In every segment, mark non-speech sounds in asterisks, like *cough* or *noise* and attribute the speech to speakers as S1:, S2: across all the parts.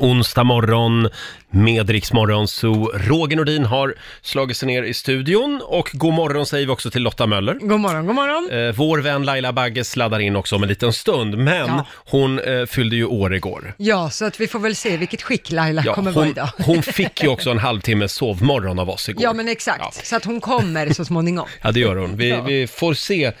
S1: Onsdag morgon med Rix Morgon, så Roger Nordin har slagit sig ner i studion och god morgon säger vi också till Lotta Möller.
S2: God morgon, god morgon.
S1: Eh, vår vän Laila Bagge sladdar in också om en liten stund, men
S2: Ja.
S1: hon eh, fyllde ju år igår.
S2: Ja, så att vi får väl se vilket skick Laila
S1: Ja,
S2: kommer vara
S1: hon,
S2: idag. *laughs*
S1: hon fick ju också en halvtimmes sovmorgon av oss igår.
S2: Ja, men exakt. Så att hon kommer så småningom.
S1: Ja, det gör hon. Vi,
S2: Ja.
S1: vi får se eh,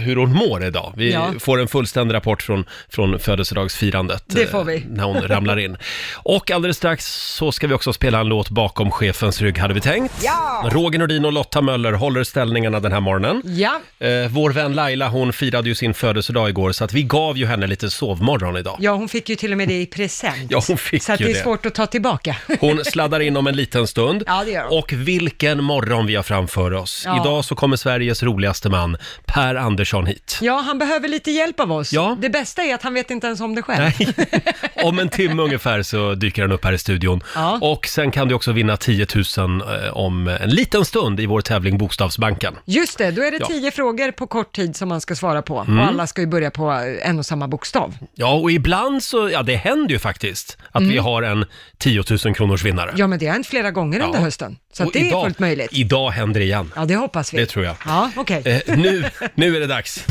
S1: hur hon mår idag. Vi
S2: Ja.
S1: får en fullständig rapport från, från födelsedagsfirandet.
S2: Det får vi.
S1: eh, När hon ramlar in. Och alldeles strax så ska vi också spela en låt bakom chefens rygg, hade vi tänkt.
S2: Ja!
S1: Roger Nordin och Lotta Möller håller ställningarna den här morgonen.
S2: Ja,
S1: Eh, vår vän Laila, hon firade ju sin födelsedag igår, så att vi gav ju henne lite sovmorgon idag.
S2: ja hon fick ju till och med det i present.
S1: Ja, hon fick
S2: så att
S1: ju
S2: det är
S1: det.
S2: svårt att ta tillbaka. *laughs*
S1: Hon sladdar in om en liten stund.
S2: Ja, det gör hon.
S1: Och vilken morgon vi har framför oss.
S2: Ja.
S1: Idag så kommer Sveriges roligaste man, Per Andersson hit.
S2: Ja, han behöver lite hjälp av oss.
S1: Ja.
S2: Det bästa är att han vet inte ens om det själv.
S1: Nej. *laughs* Om en timme ungefär så dyker den upp här i studion.
S2: Ja.
S1: Och sen kan du också vinna 10 000 eh, om en liten stund i vår tävling Bokstavsbanken.
S2: Just det, då är det
S1: Ja. Mm.
S2: tio frågor på kort tid som man ska svara på. Och alla ska ju börja på eh, en och samma bokstav.
S1: Ja, och ibland så, ja det händer ju faktiskt att vi har en 10 000 kronors vinnare.
S2: Mm. Ja, men det har hänt flera gånger
S1: Ja.
S2: under hösten. Så
S1: Och
S2: att det
S1: idag,
S2: är fullt möjligt.
S1: Idag händer det igen.
S2: Ja, det hoppas vi.
S1: Det tror jag.
S2: Ja, okej.
S1: Eh, nu, nu är det dags.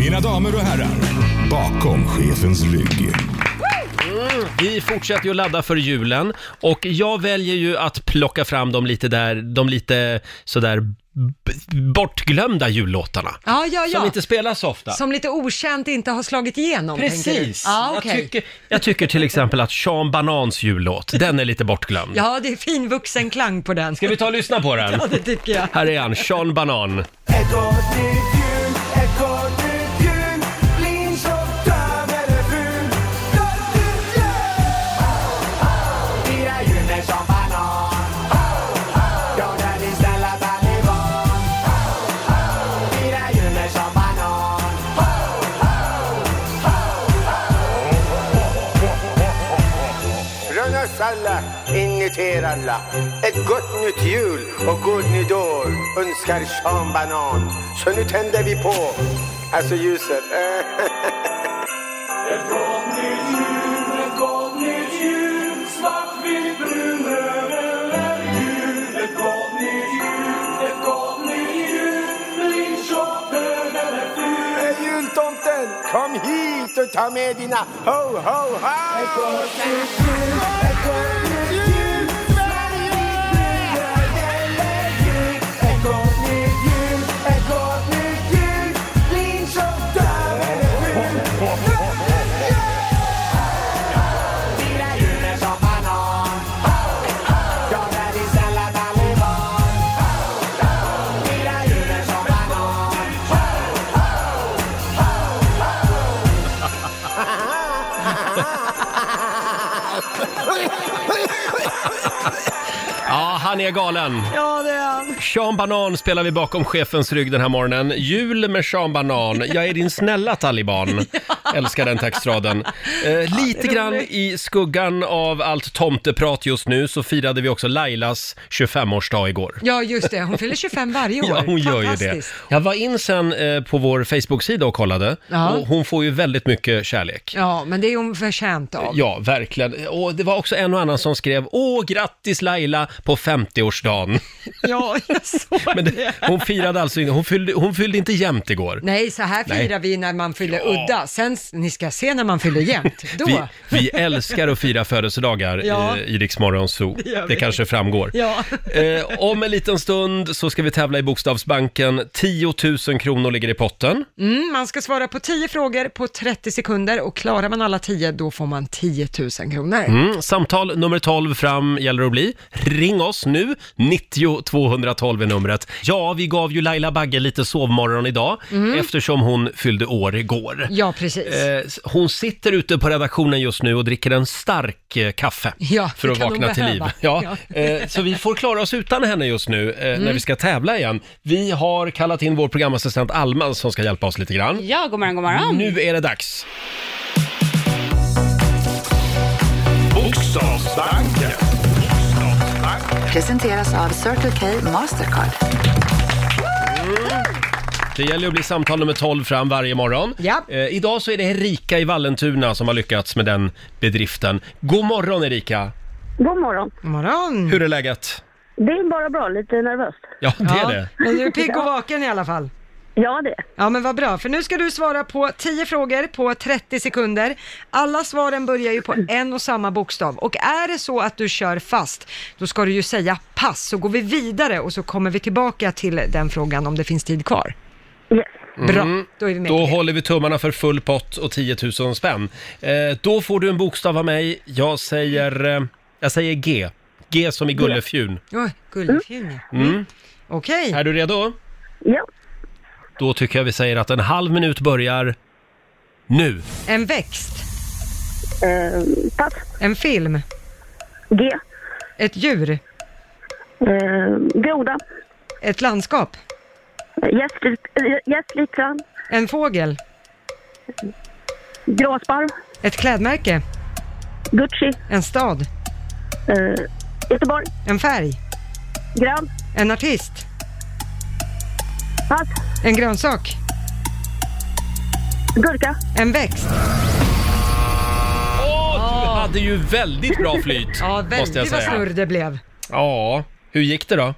S3: Mina damer och herrar, bakom chefens rygg.
S1: Vi fortsätter ju att ladda för julen och jag väljer ju att plocka fram de lite där, de lite sådär b- bortglömda jullåtarna.
S2: Ja, ja, ja.
S1: Som inte spelas så ofta.
S2: Som lite okänt inte har slagit igenom, tänker du?
S1: Precis!
S2: Ja,
S1: jag,
S2: okej.
S1: tycker, jag tycker till exempel att Sean Banans jullåt, den är lite bortglömd.
S2: Ja, det är fin vuxenklang på den.
S1: Ska vi ta och lyssna på den?
S2: *laughs* Ja, det tycker jag.
S1: Här är han, Sean Banan.
S4: Ett gott nytt jul, ett gott nytt jul Blin tjock, döv eller ful Gott nytt jul! Fira julen som banan Jag är din snälla taliban Fira julen som banan Från oss alla, inuti alla. Ett gott nytt jul och god nytt år önskar Sean Banan. Så nu tänder vi på, alltså ljuset. Ett gott nytt jul, ett gott nytt jul. Svart, vitt, brun, röd eller gul. Ett gott nytt jul, ett gott nytt jul. Blind, tjock, döv eller ful. Jultomten, kom hit och ta med dina ho, ho, ho! Ett gott nytt jul, ett gott nytt jul. Sverige! Brun, röd eller gul. Ett gott nytt jul, ett gott nytt jul. Blind, tjock, döv eller ful. Fira julen som banan Jag är din snälla taliban Fira julen som banan
S1: Ja, han är galen.
S2: Ja, det är han.
S1: Sean Banan spelar vi bakom chefens rygg den här morgonen. Jul med Sean Banan. Jag är din snälla
S2: *laughs*
S1: taliban. Älskar den textraden. Eh, lite grann i skuggan av allt tomteprat just nu så firade vi också Lailas 25-årsdag igår.
S2: Ja, just det. Hon fyller 25 varje
S1: *laughs*
S2: år.
S1: Ja, hon gör ju det.
S2: Fantastiskt.
S1: Jag var in sen eh, på vår Facebook-sida och kollade
S2: Ja.
S1: och hon får ju väldigt mycket kärlek.
S2: Ja, men det är hon
S1: *laughs*
S2: förtjänt av.
S1: Ja, verkligen. Och det var också en och annan som skrev “Åh, grattis Laila på 50-årsdagen”.
S2: Ja, jag såg
S1: *laughs* Men det, hon firade alltså inte, hon fyllde, hon fyllde inte jämnt igår.
S2: Nej, så här firar vi när man fyller udda. Sen, ni ska se när man fyller jämnt.
S1: *laughs*
S2: Då.
S1: Vi, vi älskar att fira födelsedagar eh,
S2: Ja.
S1: i, i Rix Morgon Zoo.
S2: Det gör
S1: Det,
S2: vi.
S1: kanske framgår.
S2: Ja.
S1: *laughs* Eh, om en liten stund så ska vi tävla i Bokstavsbanken. 10 000 kronor ligger i potten.
S2: Mm, man ska svara på 10 frågor på 30 sekunder och klarar man alla 10 då får man 10 000 kronor.
S1: Mm, samtal nummer 12 fram gäller det att bli. Ring oss nu, 90 212 är numret. Ja, vi gav ju Laila Bagge lite sovmorgon idag eftersom hon fyllde år igår.
S2: Mm. Ja, precis.
S1: Eh, s- Hon sitter ute på redaktionen just nu och dricker en stark eh, kaffe
S2: Ja,
S1: för
S2: det
S1: att
S2: kan
S1: vakna
S2: hon
S1: till liv.
S2: behöva.
S1: Ja,
S2: Ja. Mm.
S1: eh, Så vi får klara oss utan henne just nu eh, när vi ska tävla igen. Vi har kallat in vår programassistent Alma som ska hjälpa oss lite grann.
S5: Ja, god morgon, god morgon.
S1: Nu är det dags.
S3: Bokstavsbanken.
S6: presenteras av Circle K Mastercard.
S1: Det gäller att bli samtal nummer 12 fram varje morgon.
S2: Ja.
S1: Eh, idag så är det Erika i Vallentuna som har lyckats med den bedriften. God morgon Erika!
S5: God morgon.
S2: God morgon!
S1: Hur är läget?
S5: Det är bara bra, lite nervöst.
S1: Ja, det är det.
S2: Men du
S5: *laughs*
S2: är pigg och vaken i alla fall.
S5: Ja, det.
S2: Ja men vad bra, för nu ska du svara på 10 frågor på 30 sekunder. Alla svaren börjar ju på en och samma bokstav och är det så att du kör fast, då ska du ju säga pass, så går vi vidare och så kommer vi tillbaka till den frågan om det finns tid kvar.
S5: Yes.
S2: Bra, då är vi med
S1: Mm. Då
S2: på det.
S1: håller vi tummarna för full pott och 10 000 spänn. Eh, då får du en bokstav av mig. Jag säger, eh, jag säger G. G som i Gullefjun.
S2: Oj, gullfjun ja. mm. Okej,
S1: Är du redo?
S5: Ja.
S1: Då tycker jag vi säger att en halv minut börjar nu.
S2: en växt,
S5: Eh, pass.
S2: en film,
S5: G.
S2: ett djur,
S5: Eh, groda.
S2: ett landskap,
S5: Gästligt- eh, Gästligt strand.
S2: en fågel,
S5: Gråsparv.
S2: ett klädmärke,
S5: Gucci.
S2: en stad,
S5: Eh, Göteborg.
S2: en färg,
S5: Grön.
S2: en artist,
S5: Pass.
S2: en grönsak,
S5: Gurka.
S2: en växt.
S1: Åh, du hade ju väldigt bra flyt,
S2: Ja,
S1: måste jag
S2: väldigt vad
S1: säga.
S2: snurr det blev.
S1: Ja, hur gick det då?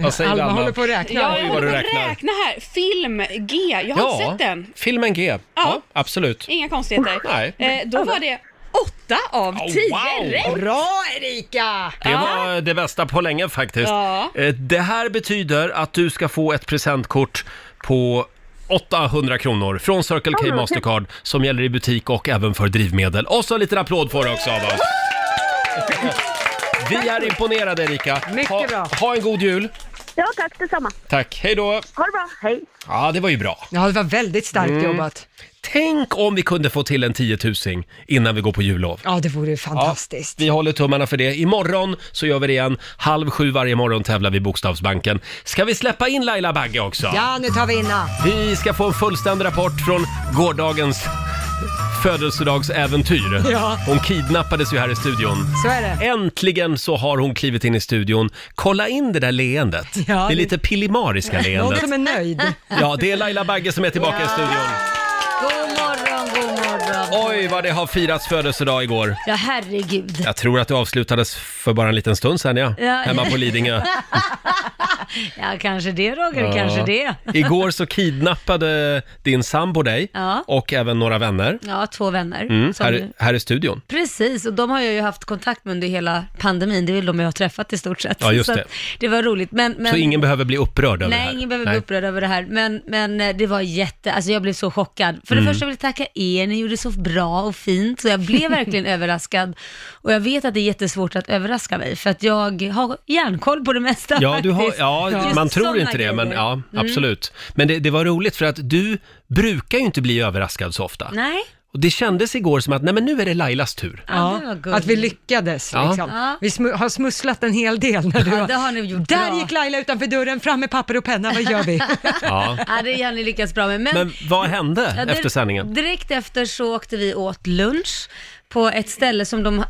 S1: Vad säger
S2: Alma
S1: Alma?
S2: håller på att räkna.
S1: Ja,
S6: Ja,
S1: det är
S6: jag
S1: vad du
S6: håller på
S1: räknar.
S6: att räkna här. Film G. Jag har inte
S1: Ja,
S6: sett den.
S1: filmen G. Ja,
S6: Ja.
S1: absolut.
S6: Inga konstigheter.
S1: *laughs* Nej.
S6: Eh, då var det åtta av
S1: Oh,
S6: tio
S1: wow.
S6: rätt.
S2: Bra Erika!
S1: Det var det bästa på länge faktiskt.
S6: Ja.
S1: Eh, Det här betyder att du ska få ett presentkort på 800 kronor från Circle K Mastercard som gäller i butik och även för drivmedel. Och så en liten applåd får du också av oss. Vi är imponerade Erika.
S2: Mycket
S1: ha,
S2: bra.
S1: ha en god jul.
S5: Ja, tack detsamma.
S1: Tack, hej då.
S5: Ha det bra. Hej.
S1: Ja, det var ju bra.
S2: Ja, det var väldigt starkt jobbat.
S1: Tänk om vi kunde få till en tiotusing innan vi går på jullov.
S2: Ja, det vore ju fantastiskt.
S1: Vi håller tummarna för det. Imorgon så gör vi det igen. Halv sju varje morgon tävlar vi i Bokstavsbanken. Ska vi släppa in Laila Bagge också?
S2: Ja, nu tar vi inna.
S1: Vi ska få en fullständig rapport från gårdagens födelsedagsäventyr.
S2: Ja.
S1: Hon kidnappades ju här i studion.
S2: Så är det.
S1: Äntligen så har hon klivit in i studion. Kolla in det där leendet.
S2: Ja,
S1: det
S2: det-
S1: är lite pillemariska
S2: Någon
S1: leendet.
S2: som är liksom nöjd.
S1: Ja, det är Laila Bagge som är tillbaka i studion.
S7: God morgon, god morgon.
S1: Oj, vad det har firats födelsedag igår.
S7: Ja, herregud.
S1: Jag tror att det avslutades för bara en liten stund sedan, ja.
S7: Ja.
S1: Hemma på Lidingö.
S7: Ja, kanske *laughs* det Roger, kanske det.
S1: Igår så kidnappade din sambo dig
S7: Ja.
S1: och även några vänner
S7: Ja, två vänner.
S1: mm,
S7: som-
S1: här, här i studion.
S7: Precis, och de har jag ju haft kontakt med under hela pandemin. Det är väl de jag har träffat i stort sett.
S1: Ja, just
S7: Så
S1: det.
S7: att det var roligt. Men, men...
S1: Så ingen behöver bli upprörd över det
S7: Nej,
S1: här.
S7: ingen behöver bli upprörd över det här. Men, men eh, det var jätte, alltså jag blev så chockad. För det
S1: Mm.
S7: första vill jag tacka er, ni gjorde så bra och fint, så jag
S1: *laughs*
S7: blev verkligen överraskad. Och jag vet att det är jättesvårt att överraska mig, för att jag har järnkoll på det mesta
S1: Ja, du har,
S7: faktiskt.
S1: ja,
S7: Just
S1: man tror
S7: såna
S1: inte det, men
S7: grejer. Mm.
S1: ja, absolut. Men det, det var roligt för att du brukar ju inte bli överraskad så ofta.
S7: Nej,
S1: Och det kändes igår som att, nej men nu är det Lailas
S7: *laughs*
S1: tur.
S7: ja, det var gulligt.
S2: Att vi lyckades
S1: Ja.
S2: liksom.
S7: Ja.
S2: Vi smu- har smusslat en hel del. När du
S7: Ja, det har ni gjort
S2: Där
S7: bra.
S2: gick Laila utanför dörren, fram med papper och penna, vad gör vi?
S1: Ja.
S7: Ja, det har ni lyckats bra med. Men,
S1: Men vad hände
S7: Ja, dir-
S1: efter
S7: *laughs*
S1: sändningen?
S7: Direkt efter så åkte vi åt lunch på ett ställe som de, eh,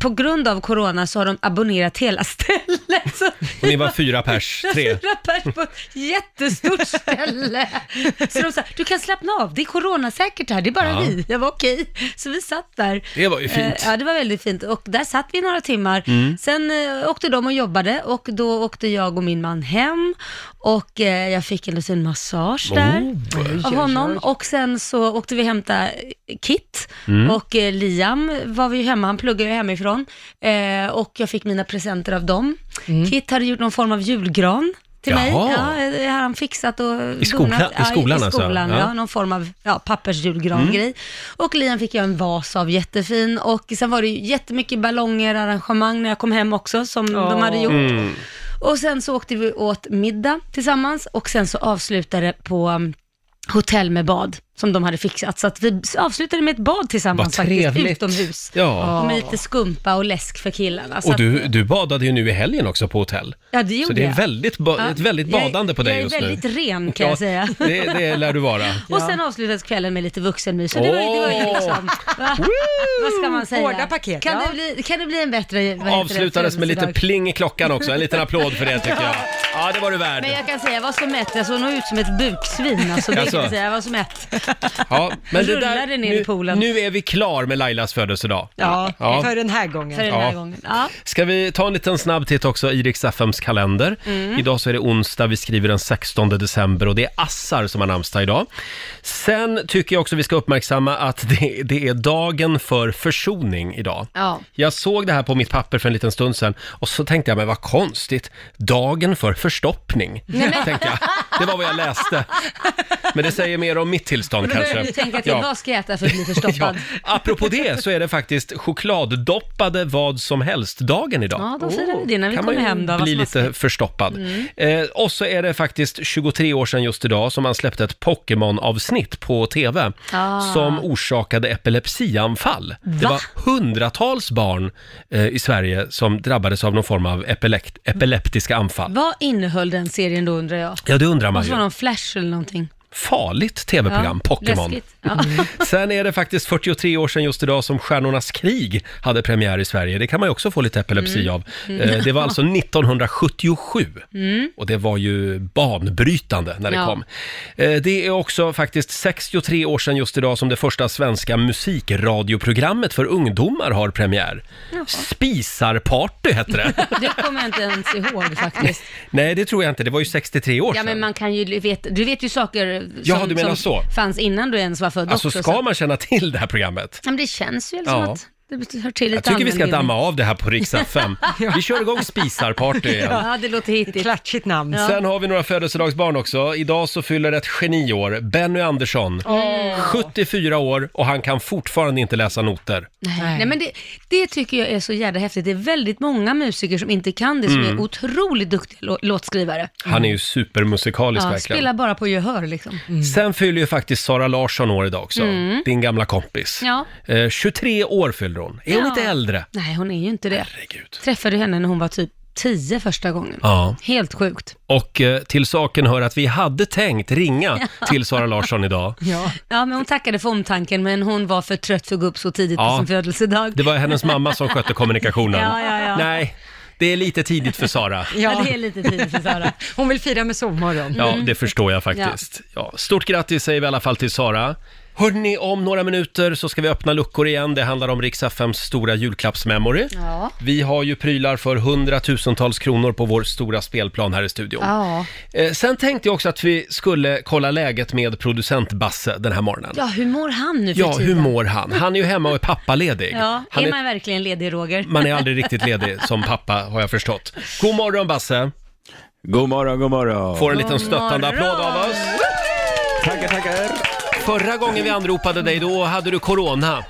S7: på grund av corona så har de abonnerat hela *laughs* stället. Så
S1: Och ni var fyra pers,
S7: *laughs*
S1: tre.
S7: fyra pers på ett
S1: *laughs*
S7: jättestort ställe. Så de sa, du kan slappna av, det är coronasäkert här, det är bara
S1: Ja.
S7: vi. Jag var okej. Så vi satt där.
S1: Det var ju fint. Mm.
S7: Eh, Ja, det var väldigt fint. Och där satt vi några timmar. Sen eh, åkte de och jobbade och då åkte jag och min man hem och eh, jag fick en liten massage där
S1: Mm.
S7: av honom. Och sen så åkte vi hämta Kit
S1: Mm.
S7: och eh, Liam var vi ju hemma, han pluggar ju hemifrån. Eh, och jag fick mina presenter av dem. Kit hade gjort någon form av julgran till mig.
S1: Mm. Jaha.
S7: Ja, eh, det har han fixat och
S1: skolan-
S7: donat.
S1: i skolan
S7: ja, i
S1: alltså?
S7: skolan
S1: Ja. Mm.
S7: ja. någon form av ja, pappersjulgran-grej. Och Liam fick jag en vas av, jättefin. Och sen var det ju jättemycket ballonger, arrangemang när jag kom hem också, som de hade
S1: Mm.
S7: gjort. Och sen så åkte vi åt middag tillsammans och sen så avslutade på um, hotell med bad. som de hade fixat. Så att vi avslutade med ett bad tillsammans
S1: Vad
S7: faktiskt,
S1: trevligt.
S7: utomhus.
S1: Ja.
S7: Och med lite skumpa och läsk för killarna. Så
S1: Och
S7: att-
S1: du, du badade ju nu i helgen också på hotell.
S7: Ja, det gjorde
S1: Så det är
S7: jag.
S1: väldigt ba-
S7: Ja.
S1: ett väldigt
S7: Jag är-
S1: badande på dig
S7: jag är
S1: just
S7: väldigt
S1: nu. *laughs*
S7: ren, kan jag säga.
S1: Det, det lär du
S7: *laughs*
S1: vara.
S7: Och sen avslutades kvällen med lite vuxenmys. Så det var, ju- det var ju
S1: Åh!
S7: liksom, va? vad ska man säga?
S2: Hårda paket,
S7: Kan,
S2: ja.
S7: det bli, kan det bli en bättre vad heter det,
S1: Avslutades med lite
S7: födelsedag?
S1: pling i klockan också. En
S7: *laughs*
S1: liten applåd för det tycker jag. Ja, det var du värd.
S7: Men jag kan säga, jag var så mätt. Jag såg nog ut som ett alltså, buksvin. Alltså, det
S1: Jaså?
S7: kan jag säga. Jag var så mätt.
S1: Ja, men det där,
S7: Rullade ner i poolen.
S1: Nu, nu är vi klar med Lailas födelsedag.
S2: *laughs* Ja,
S1: Ja.
S2: för den här gången.
S7: För den här
S1: Ja.
S7: gången. Ja.
S1: Ska vi ta en liten snabb titt också i Rix FMs kalender?
S7: Mm.
S1: Idag så är det onsdag, vi skriver den 16 december och det är Assar som har namnsdag idag. Sen tycker jag också vi ska uppmärksamma att det, det är dagen för försoning idag.
S7: Ja.
S1: Jag såg det här på mitt papper för en liten stund sedan och så tänkte jag, men vad konstigt, dagen för
S7: *laughs*
S1: förstoppning, tänkte jag. Det var vad jag läste. Men det säger mer om mitt tillstånd kanske.
S7: Du tänker att
S1: Ja.
S7: vad ska jag äta för att bli
S1: *laughs* Ja,
S7: förstoppad?
S1: apropå det så är det faktiskt chokladdoppade vad som helst-dagen idag. Oh,
S7: Ja, då firar vi det när vi
S1: kan man
S7: kommer
S1: ju
S7: hem då. Vad
S1: bli
S7: som Mm.
S1: lite förstoppad. Eh, och så är det faktiskt 23 år sedan just idag som man släppte ett Pokémon-avsnitt på TV
S7: Ah.
S1: som orsakade epilepsianfall. Det var hundratals barn eh, i Sverige som drabbades av någon form av epilekt- epileptiska anfall.
S7: Vad innehöll den serien då undrar jag?
S1: Ja, det undrar man
S7: Måste vara
S1: ju.
S7: någon flash eller någonting.
S1: Farligt TV-program, Pokémon.
S7: läskigt. Ja. *laughs*
S1: *laughs* Sen är det faktiskt 43 år sedan just idag som Stjärnornas krig hade premiär i Sverige. Det kan man ju också få lite epilepsi
S7: Mm.
S1: av. Eh, Det var
S7: *laughs*
S1: alltså 1977 och det var ju banbrytande när det
S7: Mm. Ja.
S1: kom. Eh, Det är också faktiskt 63 år sedan just idag som det första svenska musikradioprogrammet för ungdomar har premiär. Spisarparty hette
S7: *laughs*
S1: det.
S7: Det kommer jag inte ens ihåg faktiskt.
S1: Nej, det tror jag inte. Det var ju 63 år
S7: Ja,
S1: sedan.
S7: men man kan ju veta, du vet ju saker som,
S1: Ja, du menar
S7: som
S1: så.
S7: fanns innan du ens var född
S1: Alltså
S7: också.
S1: ska
S7: så-
S1: man känna till det här programmet?
S7: Ja, men det känns ju
S1: Ja.
S7: som att det hör till
S1: Jag
S7: lite
S1: tycker vi ska
S7: allmänbildning.
S1: damma av det här på riksdag
S7: *laughs*
S1: 5. Vi kör igång spisarparty igen.
S7: Ja, det låter hittigt.
S2: Klatschigt namn.
S1: Sen har vi några födelsedagsbarn också. Idag så fyller ett geni år, Benny Andersson. 74 år och han kan fortfarande inte läsa noter.
S7: Nej. Nej, men det, det tycker jag är så jävla häftigt. Det är väldigt många musiker som inte kan det, som
S1: Mm.
S7: är otroligt duktiga lå- låtskrivare.
S1: Han är ju supermusikalisk
S7: Ja,
S1: verkligen. Mm.
S7: spelar bara på gehör liksom.
S1: Sen fyller ju faktiskt Sara Larsson år idag också. Din gamla kompis.
S7: Mm. Ja.
S1: Eh, 23 år fyller hon. Är hon
S7: Ja.
S1: inte äldre?
S7: Nej, hon är ju inte det.
S1: Herregud.
S7: Träffade henne när hon var typ 10 första gången.
S1: Ja.
S7: Helt sjukt.
S1: Och eh, till saken hör att vi hade tänkt
S7: *laughs*
S1: ringa till Sara Larsson idag.
S7: Ja, men hon tackade för omtanken, men hon var för trött för att gå upp så tidigt
S1: Ja.
S7: på sin födelsedag.
S1: Det var hennes mamma som skötte kommunikationen.
S7: Ja, ja, ja.
S1: Nej, det är lite tidigt för Sara.
S7: Ja.
S2: Ja,
S7: det är lite tidigt för Sara.
S2: hon vill fira med sovmorgon.
S1: Ja,
S7: Mm.
S1: det förstår jag faktiskt. Ja. Stort grattis säger vi i alla fall till Sara. Hörrni, om några minuter så ska vi öppna luckor igen. Det handlar om Rix FMs stora julklappsmemory.
S7: *laughs* Ja.
S1: Vi har ju prylar för hundratusentals kronor på vår stora spelplan här i studion.
S7: Ja.
S1: Eh, sen tänkte jag också att vi skulle kolla läget med producent Basse den här morgonen.
S7: ja, hur mår han nu för
S1: Ja, hur
S7: tiden?
S1: mår han? Han är ju hemma och är pappaledig.
S7: Ja,
S1: han
S7: är man verkligen ledig, Roger?
S1: man är aldrig riktigt ledig som pappa har jag förstått. God morgon Basse!
S8: God morgon, god morgon.
S1: Får en liten stöttande
S7: morgon.
S1: applåd av oss.
S8: Tackar, tackar.
S1: Förra gången vi anropade dig då hade du corona.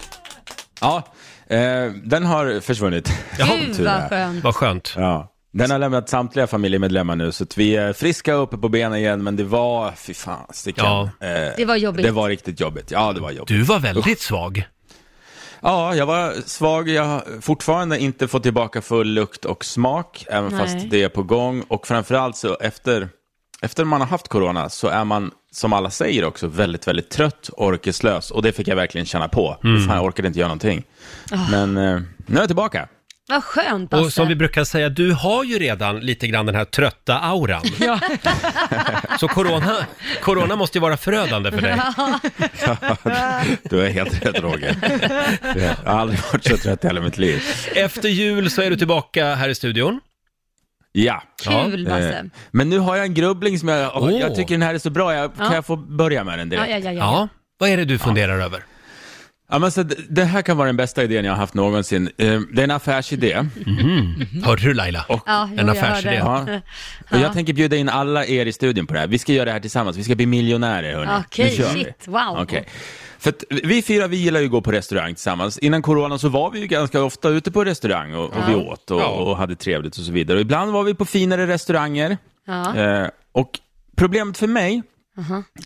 S8: Ja, eh, den har försvunnit.
S7: Gud
S8: Tur
S7: vad
S8: är.
S7: skönt.
S1: Vad skönt.
S8: *laughs* Ja. Den har lämnat samtliga familjemedlemmar nu, så att vi är friska och uppe på benen igen, men det var, fy fan,
S1: Ja.
S8: ja. eh,
S7: Det var jobbigt.
S8: Det var riktigt jobbigt. Ja, det var jobbigt.
S1: Du var väldigt svag.
S8: Ja, jag var svag. Jag har fortfarande inte fått tillbaka full lukt och smak, även
S7: Nej.
S8: fast det är på gång. Och framförallt så efter, efter man har haft corona så är man, som alla säger också, väldigt, väldigt trött och orkeslös. Och det fick jag verkligen känna på. Fan, jag orkade inte göra någonting.
S7: Ah.
S8: Men eh, nu är jag tillbaka.
S7: Vad skönt, Basse.
S1: Och som vi brukar säga, du har ju redan lite grann den här trötta auran. Så corona, corona måste ju vara förödande för dig.
S7: Ah.
S8: *laughs* Du är helt rätt, Roger. Jag har aldrig varit så trött i hela mitt liv.
S1: Efter jul så är du tillbaka här i studion.
S8: Ja.
S7: Kul,
S8: Eh,
S7: Basse.
S8: Men nu har jag en grubbling som jag,
S1: Åh.
S8: jag tycker den här är så bra. Jag, Kan
S7: Ja.
S8: jag få börja med den direkt?
S7: Ja, ja, ja, ja.
S1: Ja, vad är det du funderar över?
S8: Ja, men så det, det här kan vara den bästa idén jag har haft någonsin. Eh, Det är en affärsidé.
S1: Hörde du Laila?
S7: Mm. ja
S1: En
S7: jo,
S1: affärsidé.
S7: Jag hörde.
S8: Ja.
S7: *laughs*
S8: Och jag tänker bjuda in alla er i studion på det här. Vi ska göra det här tillsammans. Vi ska bli miljonärer, hörni.
S7: Okej,
S8: Nu kör vi.
S7: shit, wow.
S8: Okej. För att vi fyra, vi gillar ju att gå på restaurang tillsammans. Innan corona så var vi ju ganska ofta ute på restaurang och, och vi åt och, och hade trevligt och Mm. så vidare. Och ibland var vi på finare restauranger.
S7: Ja.
S8: Eh, och problemet för mig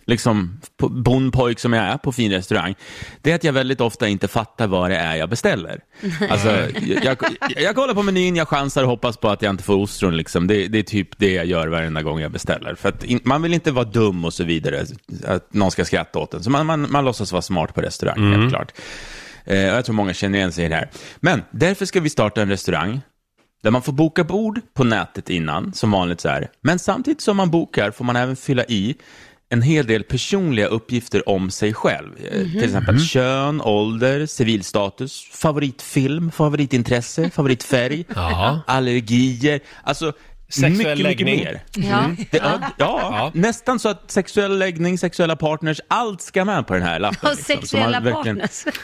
S8: liksom po- bondpojk som jag är på fin restaurang, det är att jag väldigt ofta inte fattar vad det är jag beställer. Alltså, jag, jag, jag kollar på menyn, jag chansar och hoppas på att jag inte får ostron. Liksom. Det, det är typ det jag gör varenda gång jag beställer. För att in, man vill inte vara dum och så vidare, att någon ska skratta åt en. Så man, man, man låtsas vara smart på restaurang, helt klart. Eh, och jag tror många känner igen sig i det här. Men därför ska vi starta en restaurang där man får boka bord på nätet innan, som vanligt så här. Men samtidigt som man bokar får man även fylla i en hel del personliga uppgifter om sig själv. Eh,
S1: Mhm.
S8: Till exempel kön, ålder, civilstatus, favoritfilm,
S1: *laughs*
S8: favoritintresse, favoritfärg,
S1: Ja.
S8: allergier. Alltså,
S1: Sexuell
S8: mycket,
S1: läggning.
S8: mycket mer.
S7: Ja. *laughs*
S8: Det,
S1: *laughs*
S8: ja,
S1: Ja.
S8: ja, nästan så att sexuell läggning, sexuella partners, allt ska med på den här lappen.
S7: Och
S8: liksom. Så man
S7: sexuella
S8: verkligen-
S7: partners.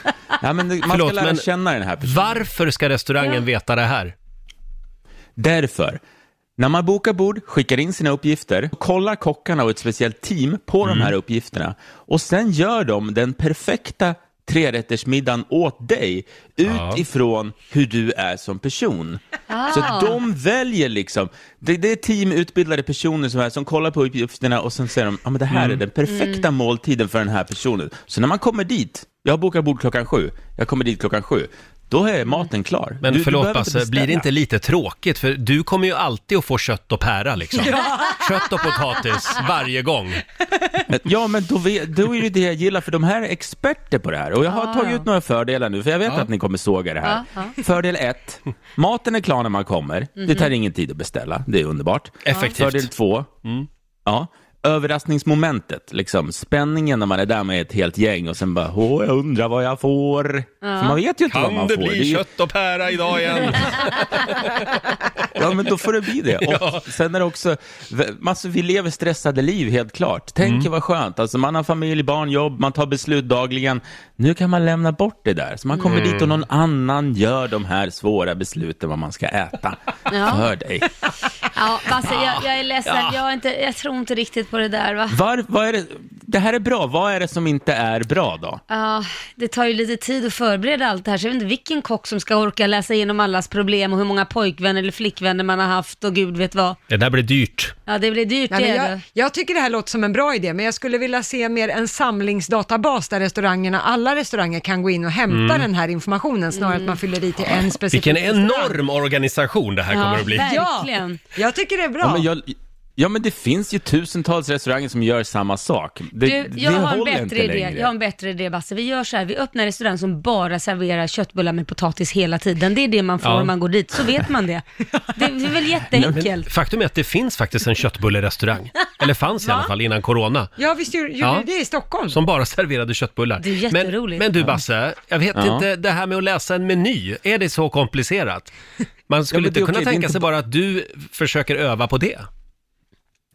S8: Ja, men det, man
S1: Förlåt,
S8: ska lära
S1: men-
S8: känna den här personen.
S1: Varför ska restaurangen
S7: Ja.
S1: veta det här?
S8: Därför, när man bokar bord, skickar in sina uppgifter, kollar kockarna och ett speciellt team på de
S1: Mm.
S8: här uppgifterna och sen gör de den perfekta trerättersmiddagen åt dig utifrån hur du är som person. Så att de väljer liksom, det, det är teamutbildade personer som, är, som kollar på uppgifterna och sen säger de, ja men det här
S1: Mm.
S8: är den perfekta måltiden för den här personen. Så när man kommer dit, jag bokar bord klockan sju, jag kommer dit klockan sju, då är maten klar.
S1: Men
S8: Du- du
S1: förlåt
S8: behöver
S1: Basse, blir det
S8: beställa.
S1: inte lite tråkigt? För du kommer ju alltid att få kött och pära liksom. Kött och potatis varje gång.
S8: Men- Ja, men då, vet, då är det det jag gillar, för de här är experter på det här. Och jag har tagit ut några fördelar nu, för jag vet
S1: Ah.
S8: att ni kommer såga det här. Fördel ett, maten är klar när man kommer. Det tar ingen tid att beställa, det är underbart. Fördel
S1: Effektivt. Mm.
S8: två, ja. Överraskningsmomentet, liksom spänningen när man är där med ett helt gäng och sen bara, åh, jag undrar vad jag får. För man vet ju inte vad
S1: Kan
S8: man
S1: det
S8: får. är
S1: bli
S8: ju-
S1: kött och pära idag igen?
S8: Ja, men då får det bli det. Och
S1: Ja.
S8: Sen är det också, v- massor, vi lever stressade liv helt klart. Tänk er vad skönt, alltså, man har familj, barn, jobb, man tar beslut dagligen. Nu kan man lämna bort det där. Så man kommer dit och någon annan gör de här svåra besluten vad man ska äta
S7: Ja.
S8: för dig.
S7: Ja, Basse, jag, jag är ledsen. Jag, är inte, jag tror inte riktigt på det där va.
S8: Var, vad är det, det här är bra, vad är det som inte är bra då?
S7: Ja, det tar ju lite tid att förbereda allt det här, så jag vet inte vilken kock som ska orka läsa igenom allas problem och hur många pojkvänner eller flickvänner man har haft och gud vet vad.
S1: Det där blir dyrt.
S7: Ja, det blir dyrt
S2: Nej,
S7: det
S2: men
S7: är
S2: jag,
S7: det.
S2: jag tycker det här låter som en bra idé, men jag skulle vilja se mer en samlingsdatabas där restaurangerna, alla restauranger kan gå in och hämta den här informationen snarare än att
S7: Mm.
S2: man fyller i till en specifik
S1: Vilken
S2: restaurang.
S1: enorm organisation det här kommer att bli.
S2: Ja,
S7: Verkligen.
S2: jag tycker det är bra.
S8: Ja, men jag, ja, men det finns ju tusentals restauranger som gör samma sak. Det,
S7: Du, jag,
S8: det
S7: har en
S8: håller inte
S7: bättre idé.
S8: längre.
S7: jag har en bättre idé Basse. Vi gör så här, vi öppnar en restaurang som bara serverar köttbullar med potatis hela tiden. Det är det man får
S1: Ja.
S7: om man går dit, så vet man det. Det är väl jätteenkelt.
S1: Faktum är att det finns faktiskt en köttbullerestaurang. Eller fanns i alla fall innan corona.
S2: Ja, visst gjorde gjorde
S1: Ja.
S2: du det i Stockholm?
S1: Som bara *laughs* serverade köttbullar.
S7: Det är
S1: men,
S7: jätteroligt.
S1: men du Basse, jag vet
S8: Ja.
S1: inte, det här med att läsa en meny, är det så komplicerat?
S8: *laughs*
S1: Man skulle
S8: det är
S1: inte kunna
S8: okej, det är
S1: tänka
S8: inte
S1: sig bara att du försöker öva på det.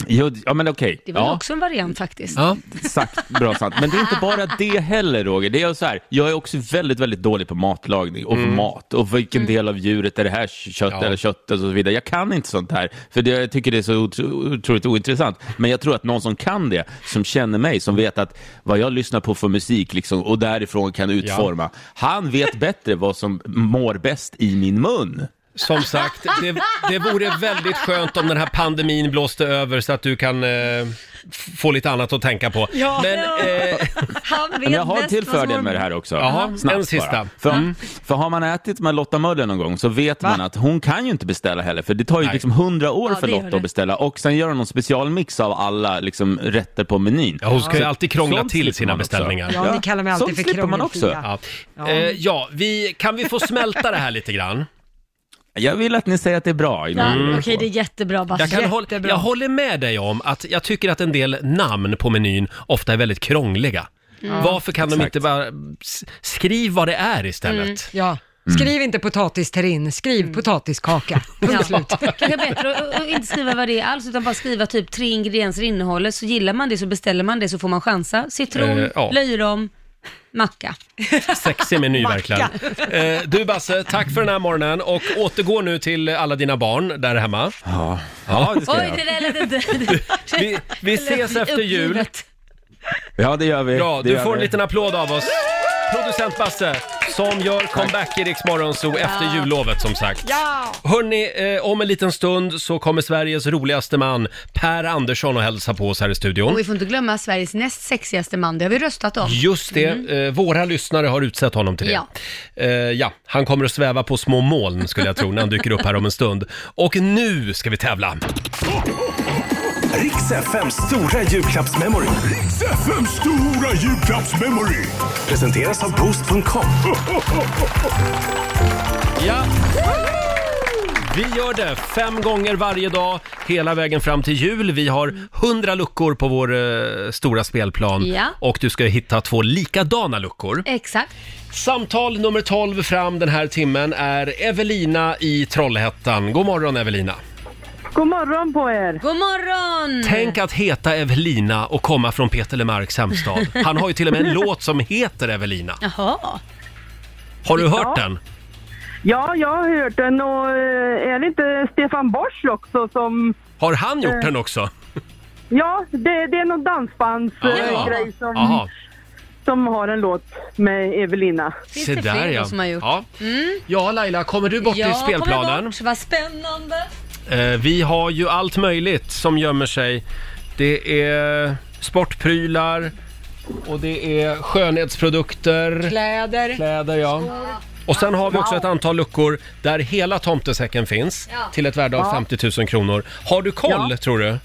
S8: Jo, ja, men okej.
S7: Det är väl
S8: ja.
S7: också en variant faktiskt.
S1: Ja.
S8: Exakt, bra sant. Men det är inte bara det heller Roger. Det är så här, jag är också väldigt, väldigt dålig på matlagning och mat och vilken del av djuret är det här kött
S1: Ja.
S8: eller köttet och så vidare. Jag kan inte sånt här för det, jag tycker det är så otro- otroligt ointressant. Men jag tror att någon som kan det, som känner mig, som vet att vad jag lyssnar på för musik liksom, och därifrån kan utforma, han vet bättre vad som mår bäst i min mun.
S1: Som sagt, det, det vore väldigt skönt om den här pandemin blåste över så att du kan eh, f- få lite annat att tänka på.
S7: Ja.
S1: Men, eh,
S7: Han vet
S8: Men jag har en
S7: bäst
S8: till
S7: vad som
S8: fördel
S7: har-
S8: med det här också.
S1: Jaha,
S8: Snabbt
S1: en sista. Mm.
S8: bara. För, för har man ätit med Lotta Möller någon gång så vet man att hon kan ju inte beställa heller för det tar ju
S1: Nej.
S8: liksom hundra år
S7: Ja,
S8: för
S7: det gör
S8: Lotta
S7: det.
S8: att beställa och sen gör hon någon specialmix av alla liksom, rätter på menyn.
S1: ja, hon ska ju
S8: Så-
S1: alltid krångla
S8: sånt
S1: till
S8: slipper
S1: sina
S8: man också.
S1: beställningar.
S2: Ja, ni kallar mig alltid
S8: sånt
S2: för
S8: slipper man
S2: krångelfia.
S8: också.
S1: Ja. Eh, ja, vi, kan vi få smälta det här lite grann?
S8: Jag vill att ni säger att det är bra.
S7: Ja,
S8: innan vi går
S1: Mm.
S7: Okej,
S8: på.
S7: det är jättebra Basse.
S1: Jag, kan hålla,
S2: Jättebra.
S1: jag håller med dig om att jag tycker att en del namn på menyn ofta är väldigt krångliga. Varför kan de
S8: Exakt.
S1: inte bara s- skriv vad det är istället?
S2: Ja. Skriv inte potatis-terrine, skriv
S7: Mm.
S2: potatiskaka.
S7: *laughs*
S2: Punkt slut.
S7: Kanske bättre att- att inte skriva vad det är alls, utan bara skriva typ tre ingredienser innehållet, så gillar man det så beställer man det så får man chansa. Citron,
S1: Eh, ja.
S7: löjrom, macka.
S1: Sexig meny
S2: Macka.
S1: verkligen. Eh, du Basse, tack för den här morgonen och återgå nu till alla dina barn där hemma.
S8: Ja. Ja, det ska
S7: Oj,
S8: jag.
S7: det där lät inte...
S1: Vi, vi
S7: *laughs*
S1: ses efter jul.
S7: Uppgivet.
S8: ja, det gör vi.
S1: Ja,
S8: det
S1: du
S8: gör
S1: får en
S8: vi.
S1: liten applåd av oss. Producent Basse, som gör comeback i Rix Morgonzoo efter jullovet som sagt.
S2: Ja!
S1: Hörni, eh, om en liten stund så kommer Sveriges roligaste man Per Andersson och hälsa på oss här i
S7: Och vi
S1: studion.
S7: får inte glömma Sveriges näst sexigaste man, det har vi röstat om.
S1: Just det, eh, våra lyssnare har utsett honom till det.
S7: Mm. Ja.
S1: Eh, ja, han kommer att sväva på små moln skulle jag tro när han dyker upp här om en stund. Och nu ska vi tävla!
S3: Riks FMs stora julklappsmemory. Riks FMs stora julklappsmemory. Presenteras av Boost.com.
S1: Ja. Vi gör det fem gånger varje dag hela vägen fram till jul. Vi har hundra luckor på vår eh, stora spelplan
S7: Ja.
S1: och du ska hitta två likadana luckor.
S7: Exakt.
S1: Samtal nummer 12 fram den här timmen är Evelina i Trollhättan. God morgon Evelina!
S5: God morgon på er.
S7: God morgon!
S1: Tänk att heta Evelina och komma från Peter Lemarks hemstad. Han har ju till och
S7: *laughs*
S1: med en låt som heter Evelina.
S7: Jaha.
S1: Har du hört den?
S5: Ja, jag har hört den och eh, är det inte Stefan Borsch också som...
S1: Har han gjort
S7: Eh,
S1: den också?
S5: Ja, det, det är någon dansbandsgrej som,
S1: Jaha.
S5: som har en låt med Evelina.
S7: Finns det fler då som har gjort? Mm.
S1: Ja. ja, Laila, kommer du bort i
S7: Ja, kommer
S1: spelplanen?
S7: bort. Vad spännande.
S1: Eh, vi har ju allt möjligt som gömmer sig. Det är sportprylar och det är skönhetsprodukter,
S2: Kläder.
S1: kläder, ja. Och sen har vi också ett antal luckor där hela tomtesäcken finns
S7: Ja.
S1: till ett värde av 50 000 kronor. Har du koll, tror du?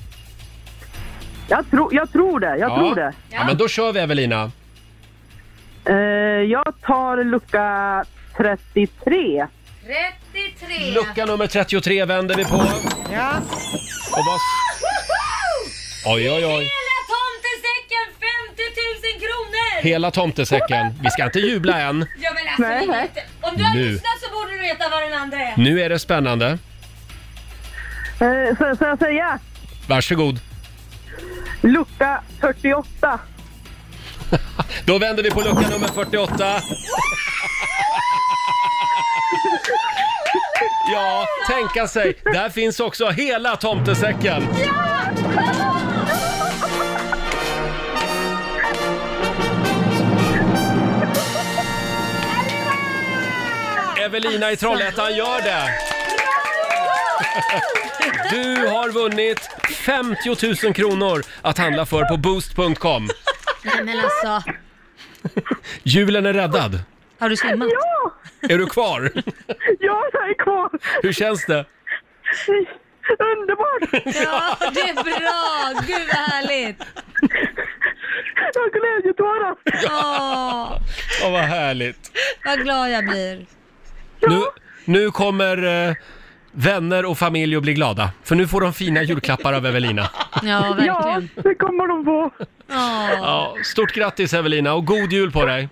S5: Jag, tro, jag tror det, jag tror det.
S1: Ja, men då kör vi Evelina.
S5: Eh, jag tar lucka 33.
S7: 33.
S1: Lucka nummer 33 vänder vi på.
S2: Ja.
S1: Och vad... Oj, oj, oj.
S7: Hela tomtesäcken 50 000 kronor!
S1: Hela tomtesäcken. Vi ska inte jubla än.
S7: Ja men alltså det är inte... Om du har
S1: Nu.
S7: lyssnat så borde du veta vad den andra är.
S1: Nu är det spännande.
S5: Eh, så, så jag säga?
S1: Varsågod.
S5: Lucka 48.
S1: Då vänder vi på lucka nummer 48. Ja, tänka sig. Där finns också hela tomtesäcken. Evelina i Trollhättan gör det! Du har vunnit 50 000 kronor att handla för på boost.com.
S7: Nej men alltså,
S1: Julen är räddad.
S7: har du svimmat?
S5: Ja,
S1: Är du kvar?
S5: ja, jag är kvar.
S1: Hur känns det?
S5: Underbart!
S7: Ja, det är bra! Gud vad härligt!
S5: Jag har glädjetårar.
S7: Åh,
S1: Åh, vad härligt.
S7: vad glad jag blir.
S1: Nu, nu kommer eh, vänner och familj att bli glada. För nu får de fina julklappar av Evelina.
S7: Ja,
S5: Ja,
S7: verkligen.
S5: det kommer de få.
S7: Åh.
S1: Ja, stort grattis Evelina och god jul på dig.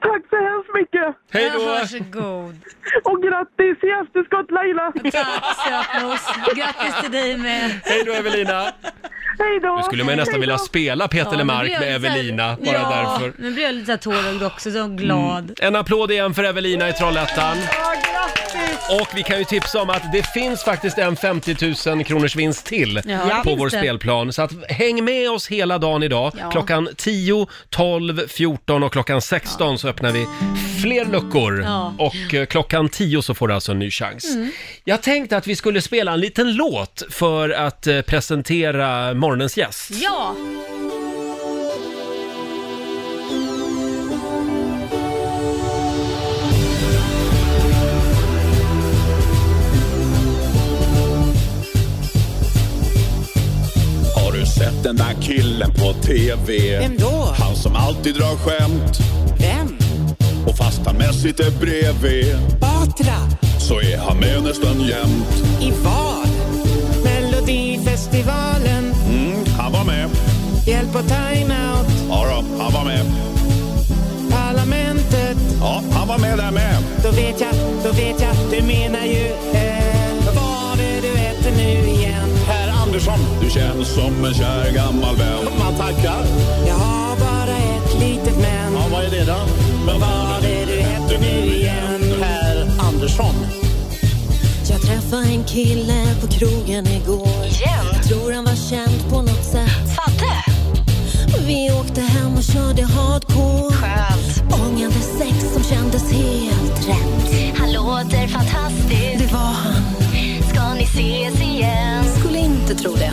S5: Tack så hemskt mycket!
S1: Hej
S7: Ja,
S1: då!
S7: Varsågod.
S5: Och grattis i efterskott Laila!
S7: Tack sötmos. Grattis till dig med.
S1: Hej då Evelina!
S5: Hej då!
S1: Nu skulle man ju nästan
S5: Hej
S1: vilja
S5: då.
S1: spela Peter
S7: nu
S1: Lemark
S7: blir jag
S1: med
S7: lite så här-
S1: Evelina, bara
S7: ja,
S1: därför.
S7: Nu blir jag lite så här tårögd också, så
S9: Mm.
S7: glad.
S1: En applåd igen för Evelina i Trollhättan. Och vi kan ju tipsa om att det finns faktiskt en 50 000 kronors vinst till
S7: Ja,
S1: på
S7: finns
S1: vår
S7: det.
S1: spelplan. Så att häng med oss hela dagen idag.
S7: Ja.
S1: Klockan 10, 12, 14 och klockan 16 så öppnar vi fler luckor.
S7: Ja. Mm.
S1: Och eh, klockan 10 så får du alltså en ny chans. Jag tänkte att vi skulle spela en liten låt för att eh, presentera morgonens gäst.
S7: Ja!
S10: Har du sett den där killen på TV?
S11: Vem då?
S10: Han som alltid drar skämt
S11: Vem?
S10: och fast han mest sitter bredvid
S11: Batra?
S10: så är han med nästan jämt.
S11: I vad? Melodifestivalen?
S10: Mm, han var med.
S11: Hjälp och time-out?
S10: Ja, då, han var med.
S11: Parlamentet?
S10: Ja, han var med där med.
S11: Då vet jag, då vet jag, du menar ju eh, Vad var det du äter nu igen?
S10: Herr Andersson, du känns som en kär gammal vän. Man tackar.
S11: Jag har bara ett litet men
S10: Ja, vad är det då? Men vad var det du hette nu igen? Herr Andersson.
S9: Jag träffade en kille på krogen igår. Jag tror han var känd på något sätt. Vi åkte hem och körde hardcore. Ångande sex som kändes helt rätt. Han låter fantastisk. Det var han. Ska ni ses igen? Skulle inte tro det.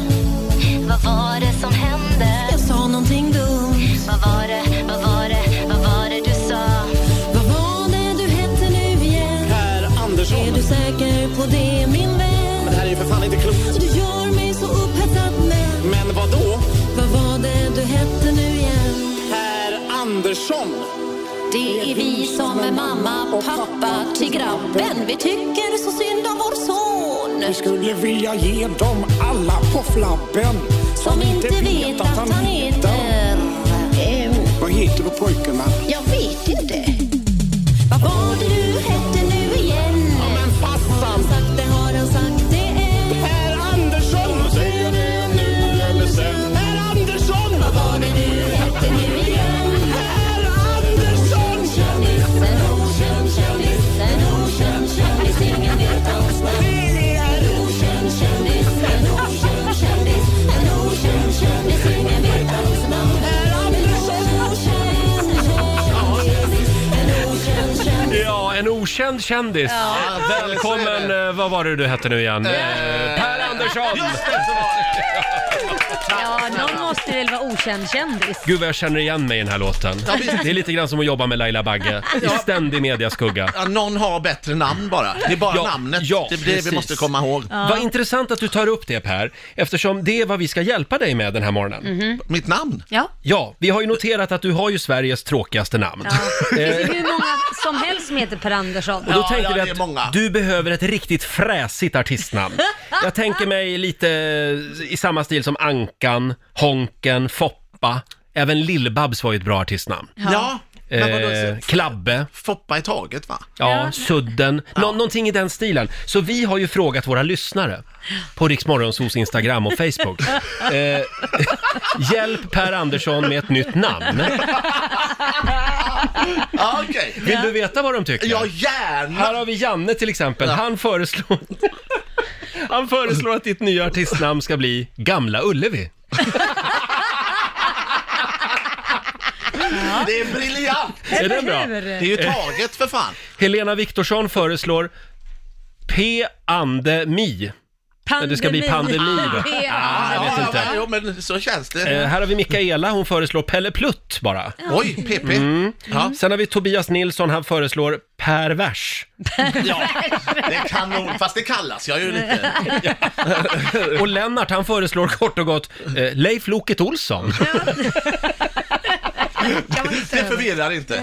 S9: Vad var det som hände? Jag sa någonting dumt. Vad var det, vad var det, vad var det du sa? Vad var det du hette nu igen?
S10: Per Andersson.
S9: Är du säker på det min vän?
S10: Men det här är ju för fan inte klokt.
S9: Du gör mig så upphetsad men
S10: Men vad då?
S9: vad var det du hette nu igen?
S10: Per Andersson.
S9: Det är vi som är mamma och pappa till grabben. Vi tycker så synd om vår son.
S10: Vi skulle vilja ge dem alla på flabben.
S9: Som inte vet att han heter.
S10: Vad heter då pojkarna?
S9: Jag vet inte. Vad var det du hette nu igen? Ja, men
S10: farsan.
S9: Sagt det har han sagt det är.
S10: Per Andersson. Säger det nu eller sen. Per Andersson. Vad var det du hette nu igen? Per Andersson.
S9: Kändisen, okänd kändisen, okänd kändis. Ingen vet hans namn. En okänd kändis, en okänd kändis, en okänd oh, kändis. Ingen vet hans namn.
S1: Ja, en okänd kändis. Välkommen, eh, vad var det du hette nu igen? Eh, Per Andersson!
S7: Ja, någon måste väl vara okänd kändis.
S1: Gud vad jag känner igen mig i den här låten.
S7: Ja, visst.
S1: Det är lite grann som att jobba med
S12: *laughs*
S1: Laila Bagge, i ständig mediaskugga.
S12: Ja, någon har bättre namn bara. Det är bara
S1: Ja,
S12: namnet.
S1: ja,
S12: det är det
S1: precis.
S12: vi måste komma ihåg.
S1: Vad intressant att du tar upp det Per, eftersom det är vad vi ska hjälpa dig med den här morgonen.
S12: Mhm. Mitt namn?
S7: Ja.
S1: Ja, vi har ju noterat att du har ju Sveriges tråkigaste namn.
S7: Det
S1: Eh,
S7: finns ju hur många som helst som heter Per Andersson.
S1: Och då tänkte vi att du behöver ett riktigt fräsigt artistnamn.
S12: *laughs*
S1: Jag tänker mig lite eh, i samma stil som Ankan, Honken, Foppa. Även Lill-Babs var ju ett bra artistnamn.
S12: Ja. Men vadå,
S1: Eh,
S12: så-
S1: Klabbe.
S12: Foppa i taget va?
S1: Ja, Sudden. Nå- Någonting i den stilen. Så vi har ju frågat våra lyssnare på Riksmorgonsos Instagram och
S12: *laughs*
S1: Facebook. Eh, *laughs* hjälp Per Andersson med ett nytt namn.
S12: Ja, okej.
S1: Vill du veta vad de tycker?
S12: Ja, gärna!
S1: Här har vi Janne till exempel. Han föreslår... *laughs* Han föreslår att ditt nya artistnamn ska bli Gamla Ullevi.
S12: Det är briljant!
S1: Är det bra?
S12: Det är ju taget för fan.
S1: Helena Viktorsson föreslår P-ande-mi. Men det ska bli pandemi då. Ah, jag vet inte.
S12: Ja, jo, men så känns det.
S1: Eh, här har vi Mikaela, hon föreslår Pelle Plutt bara.
S12: Oj, PP.
S1: Mm.
S12: Ja.
S1: Sen har vi Tobias Nilsson, han föreslår Pervers.
S12: Ja, det är kanon. Fast det kallas jag ju lite.
S1: Och Lennart, han föreslår kort och gott eh, Leif Loket Olsson.
S12: Det förvirrar inte.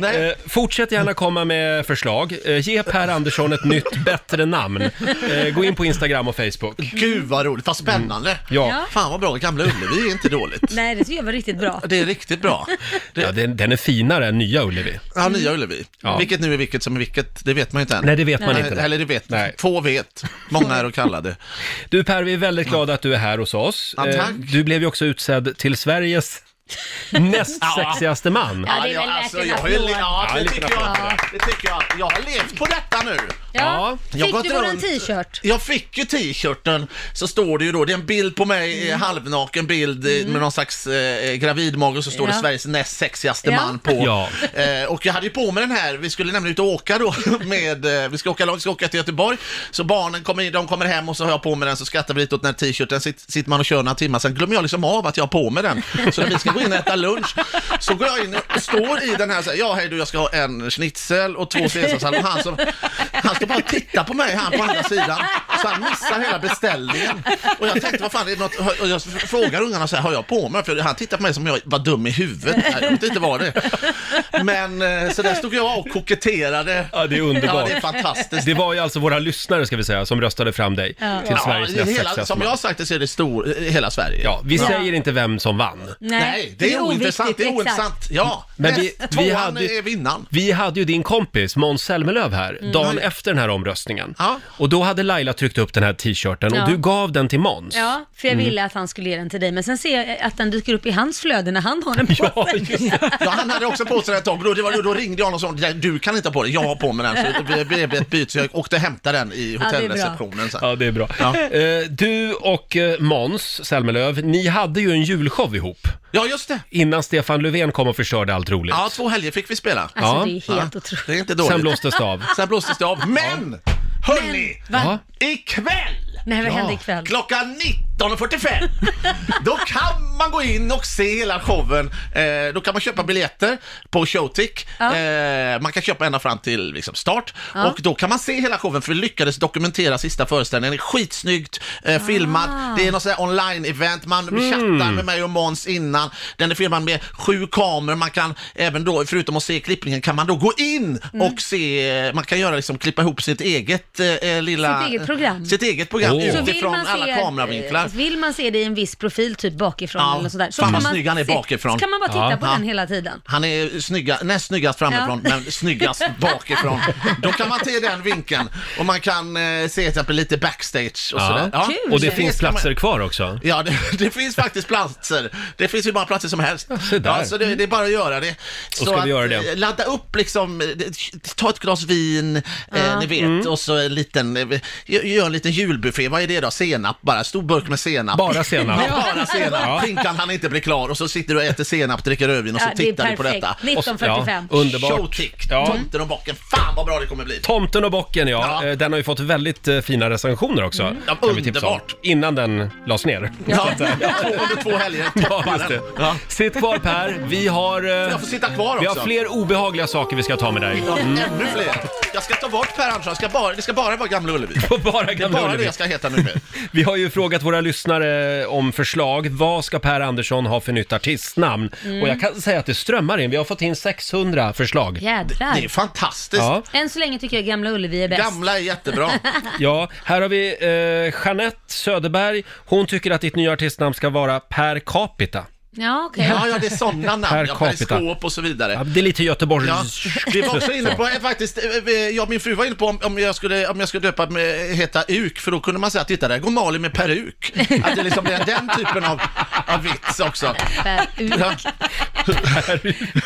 S7: Nej.
S1: Eh, fortsätt gärna komma med förslag. Eh, ge Per Andersson ett nytt, bättre namn. Eh, gå in på Instagram och Facebook. Mm.
S12: Gud vad roligt, vad spännande.
S1: Ja.
S7: Ja.
S12: Fan vad bra, Gamla Ullevi är inte dåligt.
S7: Nej, det tycker jag var riktigt bra.
S12: Det är riktigt bra.
S1: Ja, den, den är finare än Nya Ullevi.
S12: Ja, Nya Ullevi.
S1: Ja.
S12: Vilket nu är vilket som är vilket, det vet man ju inte än.
S1: Nej, det vet man inte.
S12: Eller det vet Få vet. Många är och kallade.
S1: Du Per, vi är väldigt glada att du är här hos oss. Eh,
S12: Ja, tack.
S1: du blev ju också utsedd till Sveriges näst
S12: Ja.
S1: sexigaste man.
S7: Ja, det är väl värt
S12: alltså,
S7: en
S12: jag har ju
S7: applåd.
S12: le- ja,
S1: Ja,
S12: det
S1: en
S12: tycker
S1: liten
S12: jag.
S1: applåd.
S12: Det tycker jag. Jag har levt på detta nu.
S7: Ja.
S12: Jag har
S7: Fick
S12: gått
S7: du våran
S12: runt-
S7: t-shirt?
S12: Jag fick ju t-shirten, så står det ju då, det är en bild på mig, mm. halvnaken bild eh, med någon slags eh, gravidmage och så står
S7: Ja.
S12: det Sveriges näst sexigaste
S7: Ja.
S12: man på.
S1: Ja.
S12: Eh, och jag hade ju på mig den här, vi skulle nämligen ut och åka då *laughs* med, eh, vi ska åka långt, vi ska åka till Göteborg. Så barnen kommer, in, de kommer hem och så har jag på mig den, så skrattar vi lite åt den här t-shirten, Sitt, sitter man och kör några timmar, sen glömmer jag liksom av att jag har på mig den. Så när vi ska gå in och äta lunch, så går jag in och står i den här så här, ja hej du, jag ska ha en schnitzel och två caesarsallad. Och Han, som, han ska bara titta på mig, han på andra sidan, så han missar hela beställningen. Och jag tänkte, vad fan, det är något, och jag frågar ungarna så här, har jag på mig? För han tittar på mig som jag var dum i huvudet, Nej, jag vet inte vad det är. Men eh, så där stod jag och koketterade.
S1: Ja, det är underbart.
S12: Ja, det är fantastiskt.
S1: Det var ju alltså våra lyssnare ska vi säga som röstade fram dig
S7: Ja.
S1: till Sveriges
S12: Ja,
S1: näst
S12: hela,
S1: sexigaste
S12: som
S1: man.
S12: jag har sagt det så är det stor, hela Sverige.
S1: Ja, vi säger inte vem som vann.
S7: Nej,
S12: Nej, det är, ointressant. Det är
S7: oviktigt, exakt.
S12: ointressant. Ja,
S1: Men
S12: men
S1: vi-
S12: tvåan
S1: vi hade-
S12: är vinnaren. Mm.
S1: Vi hade ju din kompis Måns Zelmerlöw här dagen efter den här omröstningen.
S12: Ja.
S1: Och då hade Laila tryckt upp den här t-shirten
S7: Ja.
S1: och du gav den till Måns. *laughs*
S7: Ja, för jag
S1: Mm.
S7: ville att han skulle ge den till dig, men sen ser jag att den dyker upp i hans flöde när han har den på sig.
S12: Ja, han hade också på sig den ett tag. Då, det var, då, då ringde jag honom och sa, "Nej, du kan inte ha på den, jag har på mig den. Så Alltså, det blev ett byte, så jag åkte och hämtade den i
S7: bra.
S12: hotellreceptionen. sen.
S1: Ja, det är bra. Eh, Du och eh, Måns Zelmerlöw, ni hade ju en julshow ihop.
S12: Ja, just det.
S1: Innan Stefan Löfven kom och förstörde allt roligt.
S12: Ja, två helger fick vi spela.
S1: Alltså, Ja. det är helt
S12: otroligt. Det är inte dåligt.
S1: Sen blåstes det av.
S12: Sen blåstes det av. Men! Hörni!
S1: Men, va?
S12: Ikväll!
S7: Nej, vad händer ikväll?
S12: Klockan
S7: *laughs*
S12: 19.45! Då kan man gå in och se hela showen. Eh, då kan man köpa biljetter på Showtick.
S7: Ja.
S12: Eh, man kan köpa ända fram till liksom, start.
S7: Ja.
S12: Och då kan man se hela showen, för vi lyckades dokumentera sista föreställningen. Den är skitsnyggt eh, filmad. Det är något sånt här online-event. Man chattar med mig och Måns innan. Den är filmad med sju kameror. Man kan även då, förutom att se klippningen, kan man då gå in och se, man kan göra liksom, klippa ihop sitt eget eh, lilla...
S7: Sitt eget program.
S12: Sitt eget program
S7: Så vill
S12: utifrån
S7: man se-
S12: alla kameravinklar.
S7: eh, Vill man se det i en viss profil, typ bakifrån
S12: Ja,
S7: eller något sånt där. Så
S12: fan
S7: kan
S12: vad
S7: man
S12: snygg han är
S7: se-
S12: bakifrån.
S7: Så kan man bara titta
S12: Ja.
S7: på
S12: Ja.
S7: den hela tiden.
S12: Han är snygga, näst snyggast framifrån,
S7: Ja.
S12: men snyggast bakifrån. Då kan man se den vinkeln och man kan eh, se till exempel lite backstage och sådär. Ja.
S1: Och det finns
S12: ska man-
S1: platser kvar också.
S12: Ja, det, det finns faktiskt platser. Det finns ju bara platser som helst.
S1: se där.
S12: Ja, så det, det är bara att göra det. Så
S1: ska vi
S12: att,
S1: göra det.
S12: eh, Ladda upp liksom, eh, ta ett glas vin, eh,
S1: Ja.
S12: ni vet,
S1: Mm.
S12: och så en liten, eh, gör en liten julbuffé. Vad är det då? Senap bara, stor burk med senap.
S1: Bara senap.
S12: Ja, bara senap.
S1: Ja.
S12: Pinkan han inte blir klar och så sitter du och äter senap, dricker rödvin och så
S1: Ja, det är
S12: tittar du på
S1: perfekt.
S12: detta.
S1: 1945. Ja, underbart.
S12: Showtick,
S1: Ja.
S12: Tomten och bocken. Fan vad bra det kommer bli.
S1: Tomten och bocken, ja. Eh, Den har ju fått väldigt eh, fina recensioner också.
S12: Ja,
S1: kan vi tipsa om.
S12: Mm. underbart.
S1: Innan den lades ner. Så
S12: Ja,
S1: att säga.
S12: två- under två helger,
S1: Ja,
S12: toppar
S1: *laughs* just
S12: den.
S1: det. Sitt kvar Per, vi har... eh,
S12: Jag får sitta kvar
S1: Vi har
S12: också.
S1: fler obehagliga saker vi ska ta med dig. *laughs*
S12: Ja,
S1: Mm.
S12: Ännu fler. Jag ska ta bort Per Andersson, jag ska bara, det ska bara vara Gamla Ullevi.
S1: bara
S12: det är
S1: Gamla
S12: bara
S1: Ullevi.
S12: det jag ska heta nu.
S1: Vi har ju frågat våra lyssnare eh, om förslag. Vad ska Per Andersson ha för nytt artistnamn?
S7: Mm.
S1: Och jag kan säga att det strömmar in. Vi har fått in 600 förslag.
S7: Jädrar.
S12: fantastiskt.
S1: Ja.
S7: Än så länge tycker jag Gamla Ullevi är bäst.
S12: Gamla är jättebra.
S1: *laughs* Ja, här har vi eh, Jeanette Söderberg. Hon tycker att ditt nya artistnamn ska vara Per Capita.
S7: Ja, okej.
S12: Ja, ja, det är sådana namn.
S1: Per
S12: Ja,
S1: capita.
S12: periskop och så vidare.
S1: Ja, det är lite Göteborgs...
S12: Ja, vi var också inne på, eh, faktiskt, eh, jag och min fru var inne på om, om, jag, skulle, om jag skulle döpa mig, heta Uk, för då kunde man säga att titta där går Malin med
S7: *laughs*
S12: peruk. Att det liksom blir den typen av, av vits också. Ja,
S7: *laughs*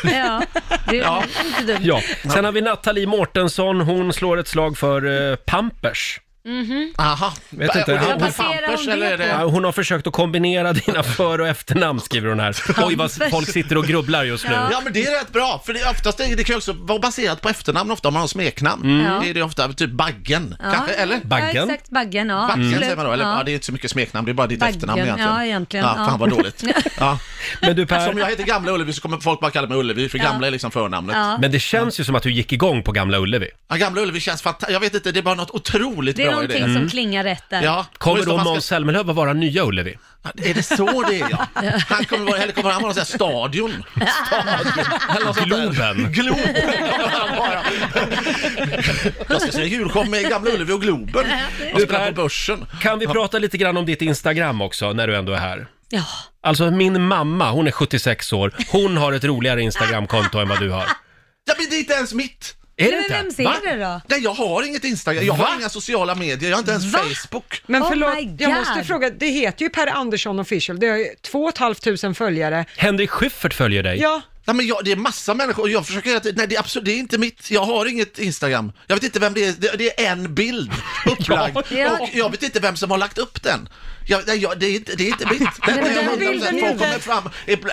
S7: Ja, det är
S1: Ja.
S7: inte dumt.
S1: Ja. Sen har vi Nathalie Mårtensson. Hon slår ett slag för eh, Pampers.
S7: Mhm.
S12: Aha.
S1: Vet inte.
S12: Och det är
S1: Han-
S12: på Pampers, eller är det-
S1: Ja, hon har försökt att kombinera dina för och efternamn skriver hon här. Oj vad folk sitter och grubblar just nu.
S12: Ja men det är rätt bra, för det, är oftast, det kan ju också vara baserat på efternamn ofta om man har smeknamn.
S1: Mm. Ja.
S12: Det är det ofta, typ Baggen,
S7: Ja.
S12: kanske, eller?
S7: Ja, exakt. Baggen, ja.
S12: Baggen
S7: absolut.
S12: säger man då, eller? Ja.
S7: Ja.
S12: det är inte så mycket smeknamn, det är bara ditt
S7: Baggen,
S12: efternamn egentligen.
S7: ja, egentligen,
S12: Ja,
S7: ja.
S12: fan vad
S7: *laughs*
S12: dåligt. Ja.
S1: Men du
S12: Som jag heter Gamla Ullevi så kommer folk bara kalla mig Ullevi, för
S1: Ja.
S12: Gamla är liksom förnamnet.
S1: Ja. Men det känns ju som att du gick igång på Gamla Ullevi.
S12: Ja, Gamla Ullevi känns fantastiskt, jag vet inte, det är bara något otroligt
S7: Det är
S12: bra i det.
S7: någonting som klingar rätt där.
S12: Ja.
S1: Mm. Kommer
S12: Just
S1: då
S12: om man ska-
S1: Måns Zelmerlöw att vara nya Ullevi?
S12: Är det så det är
S7: *laughs*
S12: ja? Han kommer vara, eller kommer han vara någon sån här stadion?
S1: Globen.
S12: Globen kommer han vara. Jag ska se en julshow med Gamla Ullevi och Globen. Jag
S1: Du,
S12: spelar
S1: Per,
S12: på börsen.
S1: Kan vi prata lite grann om ditt Instagram också när du ändå är här?
S7: Ja.
S1: Alltså min mamma, hon är 76 år. Hon har ett roligare Instagramkonto än vad du har.
S12: Ja, men det är inte ens mitt.
S1: Är det inte? Va?
S7: då?
S12: Nej, jag har inget Instagram, jag
S1: Va?
S12: har inga sociala medier, jag har inte ens Facebook.
S7: Oh
S2: Men förlåt, jag måste fråga, det heter ju Per Andersson official, det har ju två och ett halvt tusen följare.
S1: Henrik Schyffert följer dig.
S2: Ja.
S12: Nej, men jag, det är massa människor och jag försöker att, nej det är absolut, det är inte mitt, jag har inget Instagram. Jag vet inte vem det är, det, det är en bild upplagd
S2: Ja.
S12: och jag vet inte vem som har lagt upp den. Jag, nej, jag, det, är inte, det är inte mitt. Det,
S2: men den
S12: jag
S2: bilden är
S12: folk
S2: inte-
S12: kommer fram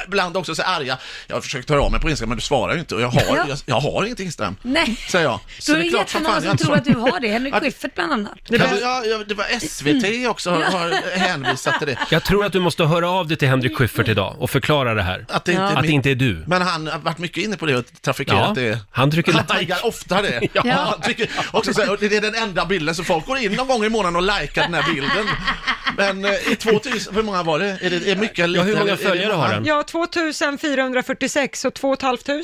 S12: ibland också så arga. Jag har försökt höra av mig på Instagram men du svarar ju inte och jag har,
S7: Ja.
S12: jag, jag har inget Instagram.
S7: Nej.
S12: Säger jag.
S7: Så det är
S12: klart som fan
S7: jättemånga
S12: jag
S7: som
S12: inte
S7: tror att du
S12: svarar.
S7: har det. Henrik
S12: Att-
S7: Schyffert bland annat. Mm.
S12: Ja, ja, ja, det var SVT också har, har hänvisat till det.
S1: Jag tror att du måste höra av dig till Henrik Schyffert idag och förklara det här.
S12: Att det inte är
S1: att det
S12: min-
S1: inte är du.
S12: Men han har varit mycket inne på det och trafikerat
S1: Ja,
S12: det.
S1: han trycker
S12: han
S1: like.
S12: taggar ofta det.
S1: *laughs* Ja.
S12: Han trycker, också så här, och det är den enda bilden, så folk går in någon gång i månaden och likar den här bilden. Men eh, i 2000, hur många var det? Är det är mycket eller
S1: Ja, hur
S12: lite?
S1: många
S12: Är det
S1: följare har
S12: många?
S1: den?
S2: Ja, 2446 och 2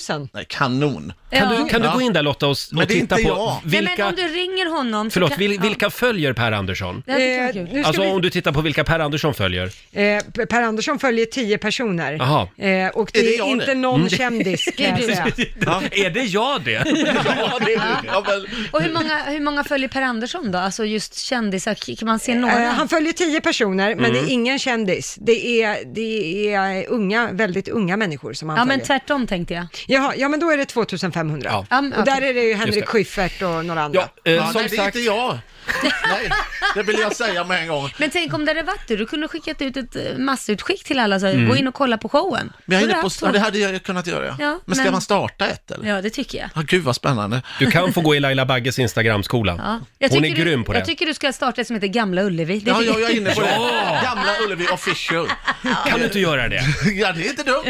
S2: 500.
S12: Nej, kanon.
S1: Kan,
S7: Ja.
S1: du, kan du gå in där Lotta och, s-
S12: Men
S1: och
S12: det är
S1: titta
S12: inte
S1: på
S12: jag.
S7: Nej, men
S1: vilka...
S7: om du ringer honom så
S1: Förlåt,
S7: kan-
S1: vil, vilka följer Per Andersson?
S7: Ja, det kan vara kul.
S1: Alltså om du tittar på vilka Per Andersson följer.
S2: Eh, per Andersson följer 10 personer.
S1: Jaha.
S2: Eh, och det
S12: Är det
S2: är,
S12: jag
S2: inte
S12: det?
S2: någon
S1: Mm.
S2: kändis kan
S7: *laughs*
S2: jag säga.
S1: *laughs* Är det jag det?
S12: Ja, det är du. Ja, men,
S7: Och hur många, hur många följer Per Andersson då? Alltså just kändisar, k- kan man se
S2: Eh,
S7: några?
S2: han följer 10 personer, men
S7: Mm.
S2: det är ingen kändis. Det är, det är unga, väldigt unga människor som han
S7: ja men
S2: följer.
S7: tvärtom tänkte jag.
S2: Jaha, ja men då är det 2500.
S1: Ja.
S7: Ja, men
S2: Och där
S7: okej.
S2: är det ju Henrik
S1: Just det.
S2: Schyffert och några andra.
S1: Ja, eh,
S12: Ja,
S1: som
S12: nej, det är
S1: sagt,
S12: inte jag. Nej, det vill jag säga med en gång.
S7: Men tänk om det hade varit du, du kunde skickat ut ett eh, massutskick till alla så
S12: Mm.
S7: gå in och kolla på showen.
S12: Men jag är
S7: Då
S12: inne
S7: hade
S12: på,
S7: haft
S12: ja,
S7: två.
S12: det hade jag ju kunnat göra.
S7: Ja,
S12: men ska
S7: men-
S12: man starta ett eller?
S7: Ja, det tycker jag.
S12: Ja, gud vad spännande.
S1: Du kan få gå i Laila Bagges Instagramskola.
S7: Ja. Jag
S1: Hon är
S7: tycker du,
S1: grym på det.
S7: Jag tycker du ska starta ett som heter Gamla Ullevi. Det
S12: Ja,
S7: tycker
S12: jag, jag är inne på det.
S1: Ja.
S12: Gamla Ullevi official.
S1: Kan du inte göra det?
S12: Ja, det är inte dumt.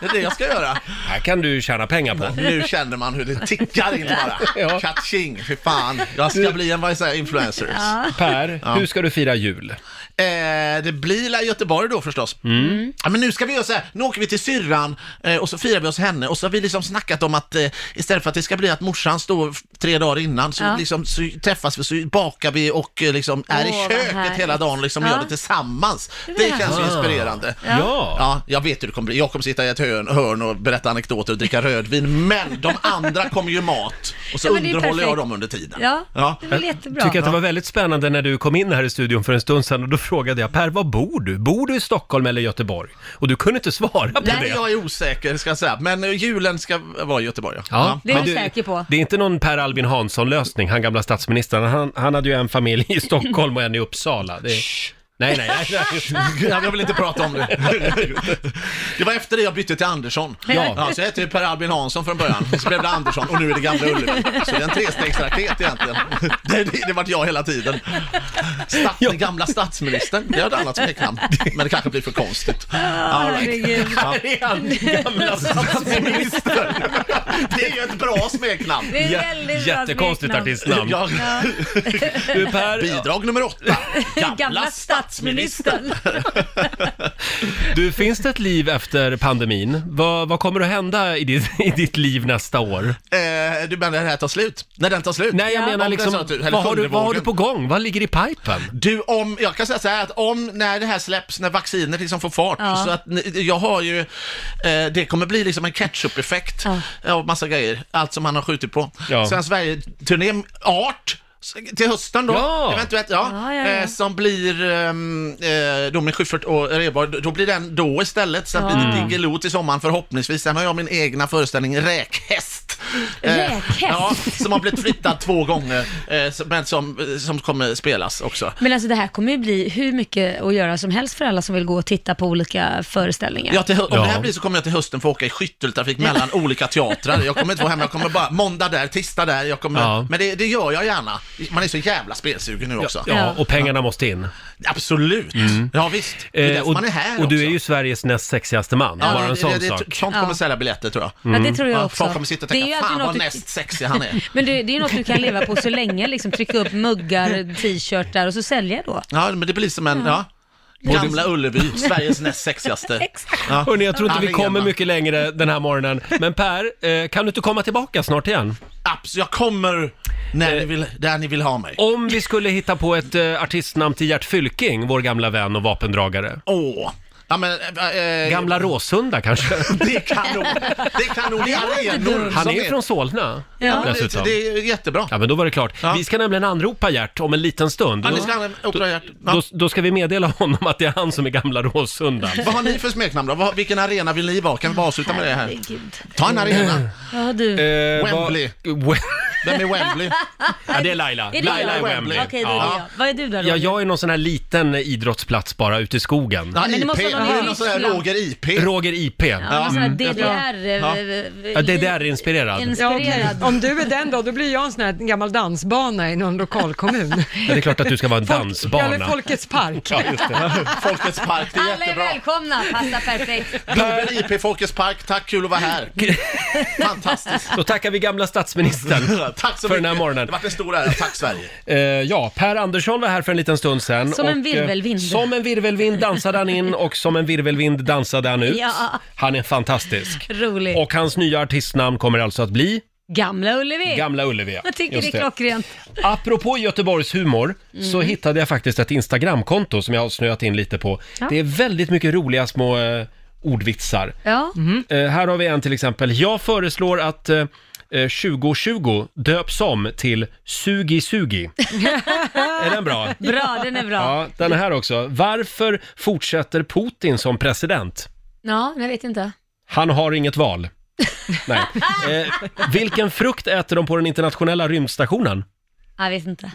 S12: Det är det jag ska göra.
S1: Här kan du tjäna pengar på.
S12: Nu känner man hur det tickar in bara.
S1: Ja.
S12: Catching, fy fan. Jag ska bli en vad jag säger, influencer.
S7: Ja.
S1: Per, hur ska du fira jul?
S12: Eh, det blir la Göteborg då förstås. Mm. Ja, men nu ska vi göra så här, nu åker vi till syrran eh, och så firar vi hos henne och så har vi liksom snackat om att eh, istället för att det ska bli att morsan står f- tre dagar innan så,
S7: Ja.
S12: liksom, så träffas vi, så bakar vi och eh, liksom är
S7: Åh,
S12: i
S7: vad
S12: köket
S7: härligt.
S12: hela dagen liksom
S7: Ja.
S12: gör det tillsammans.
S9: Mm.
S7: Det är väl
S12: Det känns ju
S1: härligt.
S12: inspirerande.
S1: Ja. Ja.
S12: ja, jag vet hur det kommer bli. Jag kommer sitta i ett hörn, hörn och berätta anekdoter och dricka rödvin, men de andra kommer ju mat och så
S7: Ja, men det är ju
S12: underhåller jag
S7: perfekt.
S12: dem under tiden.
S7: Ja,
S12: Ja.
S7: det är väl jättebra.
S1: tycker att det var väldigt spännande när du kom in här i studion för en stund sedan och då frågade jag Per, var bor du? Bor du i Stockholm eller Göteborg? Och du kunde inte svara på
S12: Nej,
S1: det.
S12: jag är osäker ska jag säga, men eh, julen ska vara i Göteborg. Ja.
S7: Det är
S1: men
S7: du säker på.
S1: Det är inte någon Per Albin Hansson-lösning, han gamla statsministern. Han, han hade ju en familj i Stockholm och en i Uppsala. Det är... Nej, nej, nej.
S12: *laughs* Ja, Jag vill inte prata om
S7: *laughs*
S12: det. Det var efter det jag bytte till Andersson. *laughs*
S1: Ja.
S12: så jag hette ju Per Albin Hansson från början, så blev det Andersson och nu är det Gamla Ullevi. Så det är en trestegsraket egentligen. Det, det, det vart jag hela tiden. Stat, Den gamla statsministern, det är ett annat smeknamn. Men det kanske blir för konstigt. All
S7: Ah, Herregud.
S12: Ja.
S1: Det är han, gamla
S12: Statsminister! Det är ju ett bra smeknamn.
S7: Det är väldigt bra
S1: Jättekonstigt
S7: smeknamn.
S1: artistnamn.
S12: Ja.
S1: Du Per,
S12: Bidrag nummer åtta. Gamla,
S7: Gamla
S12: statsministern.
S7: statsministern.
S1: du, finns det ett liv efter pandemin? Vad, vad kommer att hända i ditt, i ditt liv nästa år?
S12: Eh, du menar när det här tar slut? När den tar slut?
S1: Nej, jag
S12: Om
S1: menar
S12: den
S1: liksom,
S12: tar slut, eller
S1: vad har, du, vad har du
S12: sjunde
S1: på gång? Vad ligger i pipen?
S12: Du, om, jag kan säga så här att om, när det här släpps, när vaccinet liksom får fart,
S7: Ja.
S12: så att ni- jag har ju, eh, det kommer bli liksom en ketchup-effekt av massa grejer, allt som han har skjutit på.
S1: Ja.
S12: Sen Sverige-turné, art, s- till hösten då,
S1: Ja.
S12: eventuellt, ja,
S7: Ja, ja, ja.
S12: Eh, som blir ehm, eh, Dominic Schyffert och Rheborg, då blir den då istället, sen blir det Diggiloo till sommaren förhoppningsvis, sen har jag min egna föreställning Räkhäst. Eh,
S7: Räkhäst?
S12: Ja, som har blivit flyttad två gånger, eh, som- men som, som kommer spelas också.
S7: Men alltså det här kommer ju bli hur mycket att göra som helst för alla som vill gå och titta på olika föreställningar.
S12: Ja, till, hö- om
S1: Ja.
S12: det här blir så kommer jag till hösten få åka i skytteltrafik mellan olika teatrar. Jag kommer inte vara hemma, jag kommer bara måndag där, tisdag där. Jag kommer,
S1: Ja.
S12: Men det, det gör jag gärna. Man är så jävla spelsugen nu också.
S1: Ja, och pengarna måste in.
S12: Absolut. Ja, visst. Det är
S1: Eh,
S12: därför
S1: och,
S12: man är här
S1: och du
S12: också.
S1: är ju Sveriges näst sexigaste man, bara en
S12: det,
S1: sån
S12: det, det,
S1: sak. Mm.
S12: Sånt
S7: Ja.
S12: kommer sälja biljetter tror jag.
S7: Ja, det tror jag
S12: Ja,
S7: också.
S12: Folk kommer sitta och
S7: Det är
S12: tänka,
S7: ju alltid
S12: fan
S7: något
S12: vad
S7: du-
S12: näst sexig han är.
S7: *laughs* Men det, det är ju något du kan leva på så länge, liksom trycka upp muggar, t-shirtar och så sälja då.
S12: Mm. Ja, men det blir som en, ja. Gamla Ullevi,
S7: *laughs*
S12: Sveriges näst sexigaste. Ja.
S1: Hörni, jag tror inte vi
S12: Arena.
S1: kommer mycket längre den här morgonen. Men Per, eh, kan du inte komma tillbaka snart igen?
S12: Abs- jag kommer när ni vill, där ni vill ha mig.
S1: Om vi skulle hitta på ett eh, artistnamn till Gert Fylking, vår gamla vän och vapendragare.
S12: Åh. Ja, men, eh, eh,
S1: Gamla Råsunda kanske?
S12: *laughs* Det kan nog, det kan nog, det är arenor
S1: Han
S12: som
S1: är från Solna
S7: Ja.
S1: dessutom.
S12: Det är jättebra.
S1: Ja, men då var det klart.
S12: Ja.
S1: Vi ska nämligen anropa Gert om en liten stund.
S12: Ja,
S1: Då,
S12: ni ska använda Otra Hjärt.
S1: då,
S12: Ja.
S1: då ska vi meddela honom att det är han som är gamla Råsunda.
S12: Vad har ni för smeknamn då? Vad- Vilken arena vill ni vara? Kan vi bara avsluta med det här?
S7: Herregud.
S12: Ta en arena.
S7: Ja, du.
S1: Eh, vad-
S12: Wembley. Vem är Wembley?
S1: ja, det är Laila.
S7: det
S1: Laila är
S7: jag?
S1: Wembley.
S7: Okej, det är det jag. Vad är du där
S1: Ja,
S7: Roger?
S1: jag är någon sån här liten idrottsplats bara ute i skogen.
S12: Ja,
S7: men det
S12: IP.
S7: måste
S12: Det
S7: vara någon
S12: är någon sån här
S7: Ryssland.
S12: Roger IP.
S1: Roger IP.
S7: Ja, någon sån här
S12: jättebra.
S7: DDR...
S12: Ja.
S7: eh,
S1: Ja, DDR-inspirerad.
S2: Ja, okej.
S7: Inspirerad.
S2: Om du är den då, då blir jag en sån här gammal dansbana i någon
S1: *laughs*
S2: lokal kommun.
S1: Ja, det är klart att du ska vara en
S2: Eller
S1: dansbana.
S2: Folkets park.
S1: Ja, just det.
S12: Folkets park, det är
S7: Alla är
S12: jättebra.
S7: välkomna, passar perfekt.
S12: Roger IP, Folkets park, tack, kul att vara här. Fantastiskt.
S1: Då tackar vi
S12: *laughs*
S1: gamla statsministern.
S12: Tack så
S1: För
S12: mycket.
S1: den här morgonen.
S12: Det har varit en stor ära. Tack Sverige.
S1: Eh, ja, Per Andersson var här för en liten stund sedan.
S7: Som en
S1: eh,
S7: virvelvind.
S1: som en virvelvind dansade han in och som en virvelvind dansade han ut.
S7: Ja.
S1: Han är fantastisk.
S7: Roligt.
S1: Och hans nya artistnamn kommer alltså att bli
S7: Gamla Ullevi.
S1: Gamla Ullevi.
S7: Jag tycker
S1: Just
S7: det är klockrent. Mm.
S1: Apropå Göteborgs humor så hittade jag faktiskt ett Instagramkonto som jag har snöat in lite på. Det är väldigt mycket roliga små eh, ordvitsar.
S7: Ja.
S1: Eh, här har vi en till exempel. Jag föreslår att eh, eh, 2020 döps om till Sugi Sugi. är den bra?
S7: Bra, den är bra. Ja,
S1: Ja, den här också. Varför fortsätter Putin som president?
S7: jag vet inte.
S1: Han har inget val. Nej. Eh, vilken frukt äter de på den internationella rymdstationen?
S7: Jag vet inte.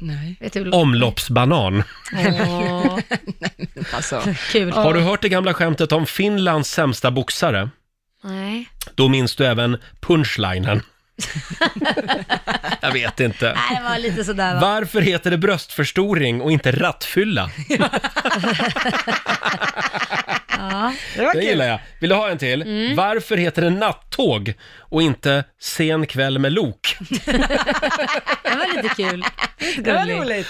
S2: Nej.
S7: Vet du hur det låter?
S1: Omloppsbanan.
S7: *laughs* Åh.
S2: Alltså.
S7: Kul.
S1: Har du hört det gamla skämtet om Finlands sämsta boxare?
S7: Nej.
S1: Då minns du även punchlinen. Jag vet inte.
S7: Nej, det var lite sådär va?
S1: Varför heter det bröstförstoring och inte rattfylla?
S7: Ja.
S1: Det gillar jag. Vill du ha en till?
S7: Mm.
S1: Varför heter det nattåg och inte sen kväll med
S7: *laughs*
S1: lok?
S7: Det var lite kul.
S2: Det var roligt.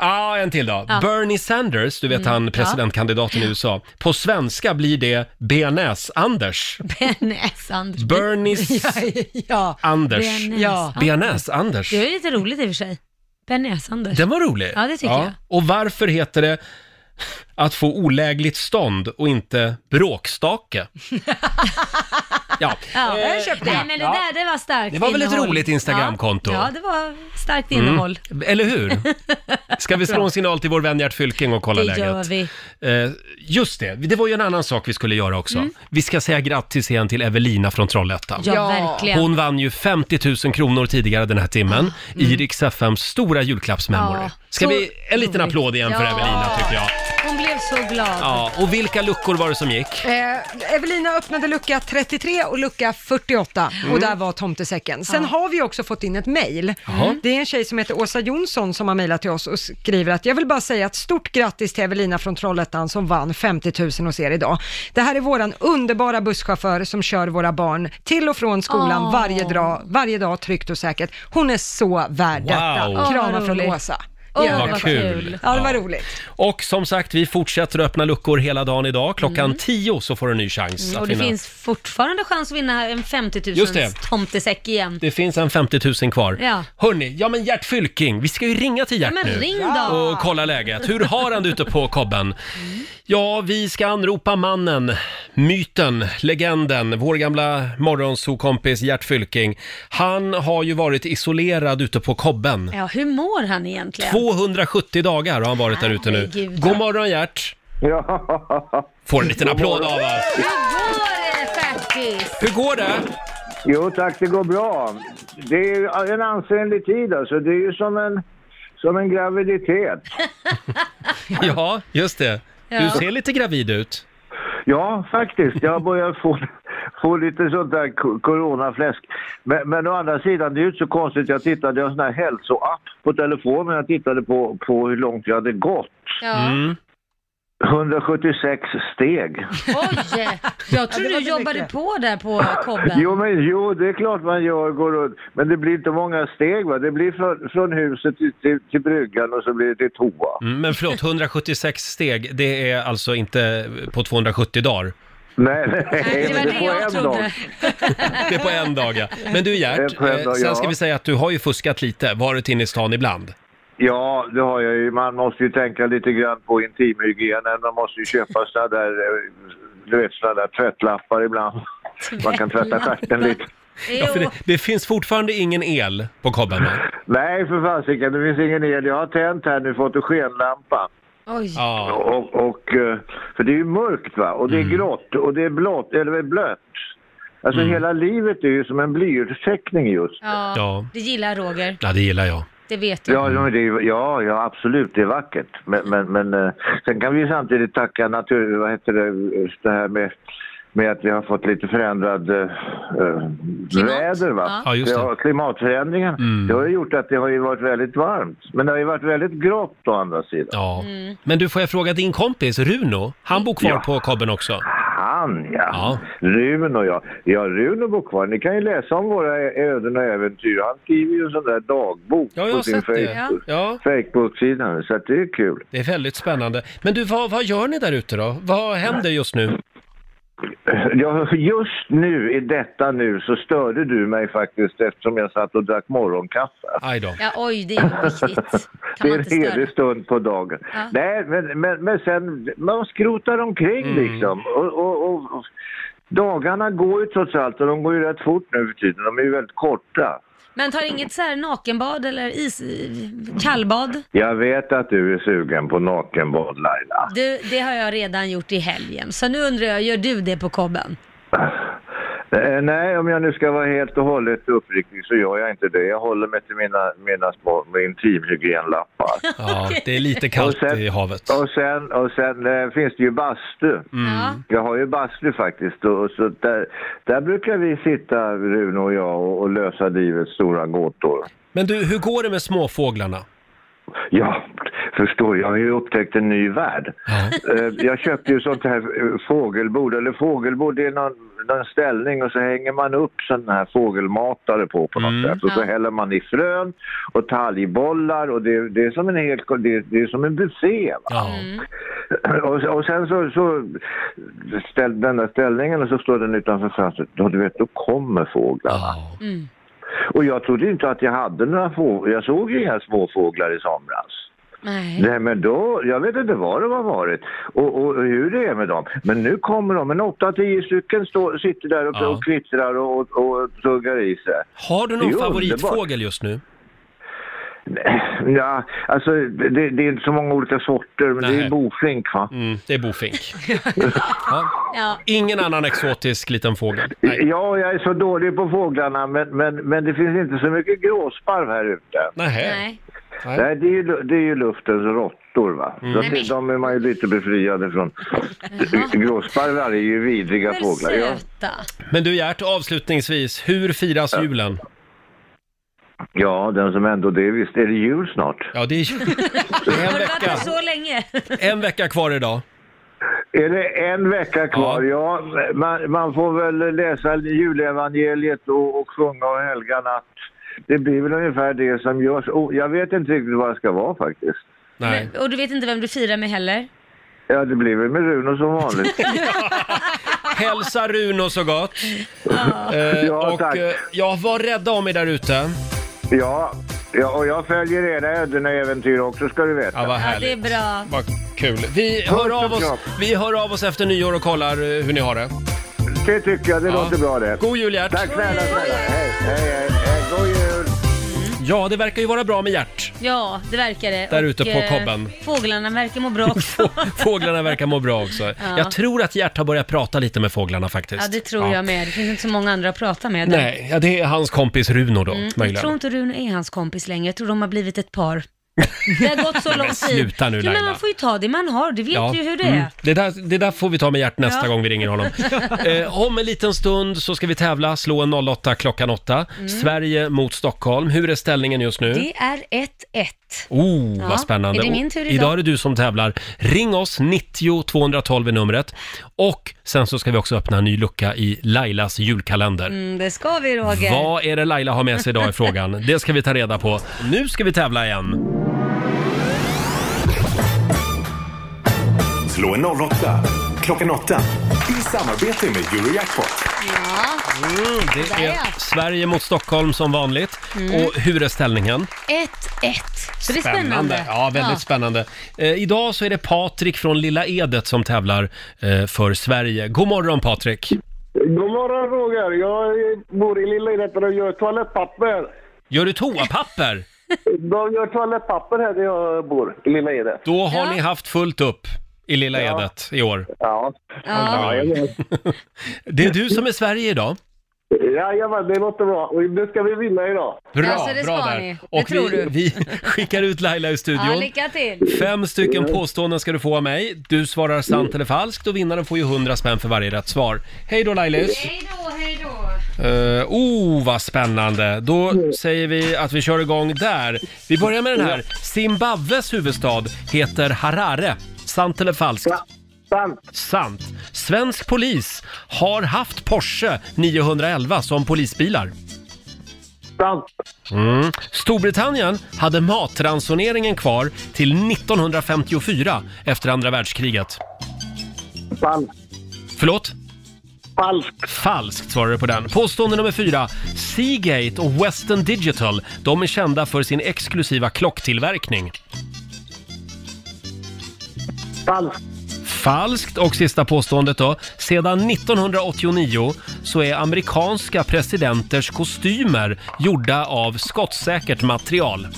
S1: Ja, en till då.
S7: Ja.
S1: Bernie Sanders, du vet
S7: Mm,
S1: han
S7: ja.
S1: presidentkandidaten i USA. På svenska blir det
S7: *laughs*
S1: BNS-Anders.
S7: Bearnaise Anders.
S1: Bernies
S7: ja,
S2: *laughs*
S7: ja.
S1: Anders.
S7: Bearnaise Ja.
S1: BNS-Anders.
S7: Det är lite roligt i och för sig. Bearnaise Anders.
S1: Den var rolig.
S7: Ja, det tycker jag.
S1: Och varför heter det att få olägligt stånd och inte bråkstake?
S7: *laughs*
S1: ja,
S7: Ja,
S2: Eh, köpte jag.
S7: Nej, men det där det var starkt
S1: Det var väl ett
S7: innehåll.
S1: roligt Instagramkonto.
S7: Ja, ja, det var starkt
S1: Mm.
S7: innehåll.
S1: Eller hur? Ska vi slå
S7: Bra.
S1: en signal till vår vän Gert Fylking och kolla
S7: det
S1: läget?
S7: gör vi.
S1: Eh, just det, det var ju en annan sak vi skulle göra också.
S7: Mm.
S1: Vi ska säga grattis igen till Evelina från Trollhättan.
S7: Ja, Ja. verkligen.
S1: Hon vann ju 50 000 kronor tidigare den här timmen i Rix FMs stora julklappsmemory.
S7: Ah, mm. Ja,
S1: Ska
S7: så
S1: vi, en liten
S7: roligt.
S1: applåd igen för
S7: Ja.
S1: Evelina tycker jag.
S7: Hon blev så glad.
S1: Ja, och vilka luckor var det som gick?
S2: Eh, Evelina öppnade lucka 33 och lucka 48
S1: Mm.
S2: och där var tomtesäcken. Sen har vi också fått in ett mejl.
S1: Jaha.
S2: Det är en tjej som heter Åsa Jonsson som har mejlat till oss och skriver att jag vill bara säga ett stort grattis till Evelina från Trollhättan som vann 50 000 hos er idag. Det här är våran underbara busschaufför som kör våra barn till och från skolan
S7: Åh.
S2: varje, dag, varje dag tryggt och säkert. Hon är så värd detta.
S1: Wow. Åh, vad
S2: Kramar från
S7: roligt.
S2: Åsa.
S7: Åh,
S2: Ja.
S1: vad Vad kul. kul.
S2: Ja, det var
S1: Ja.
S2: roligt.
S1: Och som sagt, vi fortsätter att öppna luckor hela dagen idag. Klockan 10 så får du en ny chans
S7: Mm,
S1: att
S7: och det
S1: vinna.
S7: finns fortfarande chans att vinna en 50
S1: Just det.
S7: 000 tomtesäck igen.
S1: Det finns en 50 000 kvar.
S7: Ja.
S1: Hörni, ja men Gert Fylking, vi ska ju ringa till Gert
S7: Ja, men
S1: nu
S7: ring då. Mm.
S1: och kolla läget. Hur har han det ute på kobben? Ja, vi ska anropa mannen, myten, legenden, vår gamla morgonsokompis Gert Fylking. Han har ju varit isolerad ute på kobben.
S7: Ja, hur mår han egentligen?
S1: 270 dagar har han varit där ute nu.
S7: Herregud.
S1: God morgon Gert! Ja. Får en liten applåd av oss.
S7: Hur går det eh, faktiskt?
S1: Hur går det?
S13: Jo tack, det går bra. Det är ju en ansenlig tid alltså. Det är ju som en, som en graviditet.
S1: *laughs* Ja, just det. Du
S13: Ja.
S1: ser lite gravid ut.
S13: Ja, faktiskt. Jag börjar få, få lite sånt där ko- coronafläsk. Men, men å andra sidan, det är ju inte så konstigt. Jag tittade i en sån här hälsoapp på telefonen. Jag tittade på, på hur långt jag hade gått.
S7: Ja.
S1: Mm.
S13: 176 steg.
S7: Oj! Jag tror du jobbade på där på kobben.
S13: Jo, men jo, det är klart man gör, går runt. Men det blir inte många steg va? Det blir från, från huset till, till, till bryggan och så blir det till toa.
S1: Mm, Men förlåt, 176 steg, det är alltså inte på 270 dagar.
S13: Nej, nej,
S7: det var
S13: men
S7: det jag trodde.
S1: Det är på en dag, ja. Men du Gert,
S13: Det är på en
S1: eh,
S13: dag,
S1: sen
S13: ja.
S1: ska vi säga att du har ju fuskat lite, varit inne i stan ibland.
S13: Ja, det har jag ju. Man måste ju tänka lite grann på intimhygienen. Man måste ju köpa sådana där, eh, du vet, såna där tvättlappar ibland. Man kan tvätta
S7: *laughs*
S13: stjärten lite.
S1: Ja, för det, det finns fortfarande ingen el på kobben. va?
S13: Nej, för fasiken, det finns ingen el. Jag har tänt här nu fotogenlampan.
S7: Oj.
S13: Och, och, eh, för det är ju mörkt va, och det är grått och det är blått, eller blött. Alltså hela livet är ju som en blyertsteckning just.
S7: Ja, det gillar Roger.
S1: Ja, det gillar jag.
S7: Det vet du.
S13: Ja, ja, men det är, ja, ja, absolut, det är vackert. Men, men, men eh, sen kan vi ju samtidigt tacka natur, vad heter det, just det här med, med att vi har fått lite förändrad eh, eh, väder. Va?
S1: Ja, just det. Mm.
S13: har- klimatförändringen. Det har ju gjort att det har ju varit väldigt varmt. Men det har ju varit väldigt grått å andra sidan.
S1: Ja.
S13: Mm.
S1: Men du, får jag fråga din kompis Runo? Han bor kvar på kobben också.
S13: Han ja. Run och jag. Ja, Run och bor kvar. Ni kan ju läsa om våra ö- öden och äventyr. Han skriver ju en sån där dagbok
S1: jag har
S13: på sin
S1: sett det.
S13: Facebook-
S1: Ja.
S13: Facebook-sida. Så att det är kul. *clears throat*
S1: Det är väldigt spännande. Men du, vad, vad gör ni där ute då? Vad händer just nu?
S13: Ja, just nu, i detta nu, så störde du mig faktiskt eftersom jag satt och drack morgonkaffe.
S1: Aj då.
S7: Ja, oj, det
S13: *laughs*
S7: är viktigt.
S13: det är
S7: man inte
S13: en
S7: störa?
S13: helig stund på dagen.
S7: Ja.
S13: Nej, men, men, men sen, man skrotar omkring liksom. Och, och, och, och, dagarna går ju trots allt och de går ju rätt fort nu för tiden. De är ju väldigt korta.
S7: Men tar inget så här nakenbad eller is... kallbad?
S13: Jag vet att du är sugen på nakenbad Laila.
S7: Du, det har jag redan gjort i helgen. Så nu undrar jag, gör du det på kobben?
S13: Eh, Nej, om jag nu ska vara helt och hållet uppriktig så gör jag inte det. Jag håller mig till mina, mina små med intimhygienlappar.
S1: Ja, det är lite kallt i havet.
S13: Och sen, och sen eh, finns det ju bastu. Jag har ju bastu faktiskt. Och, och så där, där brukar vi sitta, Rune och jag, och, och lösa livets stora gåtor.
S1: Men du, hur går det med småfåglarna?
S13: Ja, förstår jag. Jag har ju upptäckt en ny värld. Eh, Jag köpte ju sånt här eh, fågelbord, eller fågelbord, det är någon, någon ställning och så hänger man upp sån här fågelmatare på på något sätt. Och så
S14: Ja.
S13: häller man i frön och talgbollar och det, det är som en helt, det, det är som en buffé. Va?
S7: Mm.
S13: Och, och sen så, så ställ, den där ställningen och så står den utanför fönstret. Ja, du vet, då kommer fåglarna.
S10: Mm.
S13: Och jag trodde inte att jag hade några fåglar. Jag såg ju inga småfåglar i somras.
S7: Nej.
S13: Nej men då, jag vet inte var de har varit och, och, och hur det är med dem. Men nu kommer de, en 8-10 stycken står, sitter där och,
S1: Ja.
S13: och kvittrar och, och, och tuggar i sig.
S1: Har
S13: Det
S1: du
S13: är
S1: någon
S13: ju underbart.
S1: favoritfågel just nu?
S13: Ja, alltså det, det är inte så många olika sorter men det
S1: Nähä.
S13: är bofink va?
S1: Mm, det är
S7: *laughs*
S1: bofink. Ja. Ingen annan exotisk liten fågel?
S13: Ja, jag är så dålig på fåglarna men, men, men det finns inte så mycket gråsparv här ute.
S1: Nej.
S13: Nej, det är ju, lu- det är ju luftens råttor va. Så
S7: Mm. Nej, men-
S13: att de är man ju lite befriade från. Mm. Gråsparvar är ju vidriga fåglar. Ja.
S7: Söta.
S1: Men du Gert, avslutningsvis, hur firas julen?
S13: ja, den som ändå det, visst är det jul snart?
S1: Ja, det är
S7: *laughs*
S1: jul.
S7: Har
S1: En
S7: du varit där
S1: vecka,
S7: så länge?
S1: en vecka kvar idag.
S13: Är det en vecka kvar? Ja, man, man får väl läsa julevangeliet och, och sjunga och helga natt. Det blir väl ungefär det som görs. Oh, jag vet inte riktigt vad jag ska vara faktiskt.
S1: Nej.
S7: *laughs* Och du vet inte vem du firar med heller?
S13: Ja, det blir väl med Runo som vanligt.
S1: Hälsa Runo så gott. Eh,
S13: Ja,
S1: och
S13: tack.
S1: eh, ja, var rädda om er där ute.
S13: Ja, ja och jag följer era öden och äventyr också ska du veta.
S1: Ja, vad
S7: Ja, det är
S1: härligt.
S7: bra.
S1: Vad kul. Vi hör, av oss, vi hör av oss efter nyår och kollar eh, hur ni har det.
S13: Det tycker jag, det låter bra det.
S1: God jul Gert!
S13: Tack snälla, snälla. Hej, hej, hej, hej. God jul!
S1: Ja, det verkar ju vara bra med
S7: *laughs*
S1: Gert.
S7: Ja, det verkar det.
S1: Där
S7: Och,
S1: ute på
S7: eh,
S1: kobben.
S7: Fåglarna verkar må bra
S1: *laughs*
S7: också.
S1: Fåglarna verkar må bra också.
S7: Ja.
S1: Jag tror att Gert har börjat prata lite med fåglarna faktiskt.
S7: ja, det tror jag med. Det finns inte så många andra att prata med.
S1: Nej, ja, det är hans kompis Runo då,
S7: Mm, jag
S1: möjligen.
S7: tror inte Rune är hans kompis längre. Jag tror de har blivit
S1: *laughs*
S7: ett par. Det har gått så
S1: Men
S7: lång tid.
S1: sluta nu,
S7: Jo, Men
S1: Laila.
S7: man får ju ta det man har. Du vet ju hur det
S1: mm.
S7: är.
S1: Det där, det där får vi ta med Gert nästa
S7: Ja.
S1: gång vi
S7: *laughs*
S1: ringer honom. eh, om en liten stund så ska vi tävla, slå en 08 klockan 8.
S7: Mm.
S1: Sverige mot Stockholm. Hur är ställningen just nu?
S7: Det är 1-1.
S1: Oh,
S7: Ja,
S1: vad spännande.
S7: är det
S1: Och
S7: min tur idag?
S1: idag är det du som tävlar. Ring oss, 90 212 är numret. Och sen så ska vi också öppna en ny lucka i Lailas julkalender.
S7: Mm, det ska vi Roger.
S1: Vad är det Laila har med sig idag i
S7: *laughs*
S1: frågan? Det ska vi ta reda på. Nu ska vi tävla igen.
S3: Slå en 08 klockan 8 i samarbete med Eurojackpot.
S1: Mm, det är Sverige mot Stockholm som vanligt.
S7: Mm.
S1: Och hur är ställningen?
S7: 1-1. Så det är spännande.
S1: Ja, väldigt spännande. Eh, idag så är det Patrik från Lilla Edet som tävlar eh, för Sverige. God morgon Patrik!
S15: God morgon Roger! Jag eh, bor i Lilla Idrätten och gör toalettpapper.
S1: Gör du toapapper?
S15: De gör toalettpapper här där jag bor, i Lilla Edet.
S1: Då har ni haft fullt upp i Lilla
S15: Ja.
S1: Edet i år.
S15: Ja.
S1: Ja. Det är du som är Sverige idag.
S15: Jajamän, det låter bra. Och det ska vi vinna idag.
S1: Bra,
S7: Alltså, det
S1: bra
S7: ska
S1: där.
S7: ni. Det
S1: Och
S7: tror
S1: vi,
S7: du.
S1: *laughs* vi skickar ut Laila i
S7: Ja,
S1: studion.
S7: lycka till.
S1: Fem stycken påståenden ska du få av mig. Du svarar sant eller falskt och vinnaren får ju 100 spänn för varje rätt svar. Hej då Lailis!
S7: då, hej då.
S1: Uh, oh, vad spännande! Då säger vi att vi kör igång där. Vi börjar med den här. Zimbabwes huvudstad heter Harare. Sant eller falskt? Sant. Sant. Svensk polis har haft Porsche 911 som polisbilar. Sant. Mm. Storbritannien hade matransoneringen kvar till 1954 efter andra världskriget.
S15: Falskt.
S1: Förlåt? Falskt. Falskt svarar du på den. Påstående nummer fyra. Seagate och Western Digital, de är kända för sin exklusiva klocktillverkning. Falskt. Falskt. Och sista påståendet då. Sedan 1989 så är amerikanska presidenters kostymer gjorda av skottsäkert material.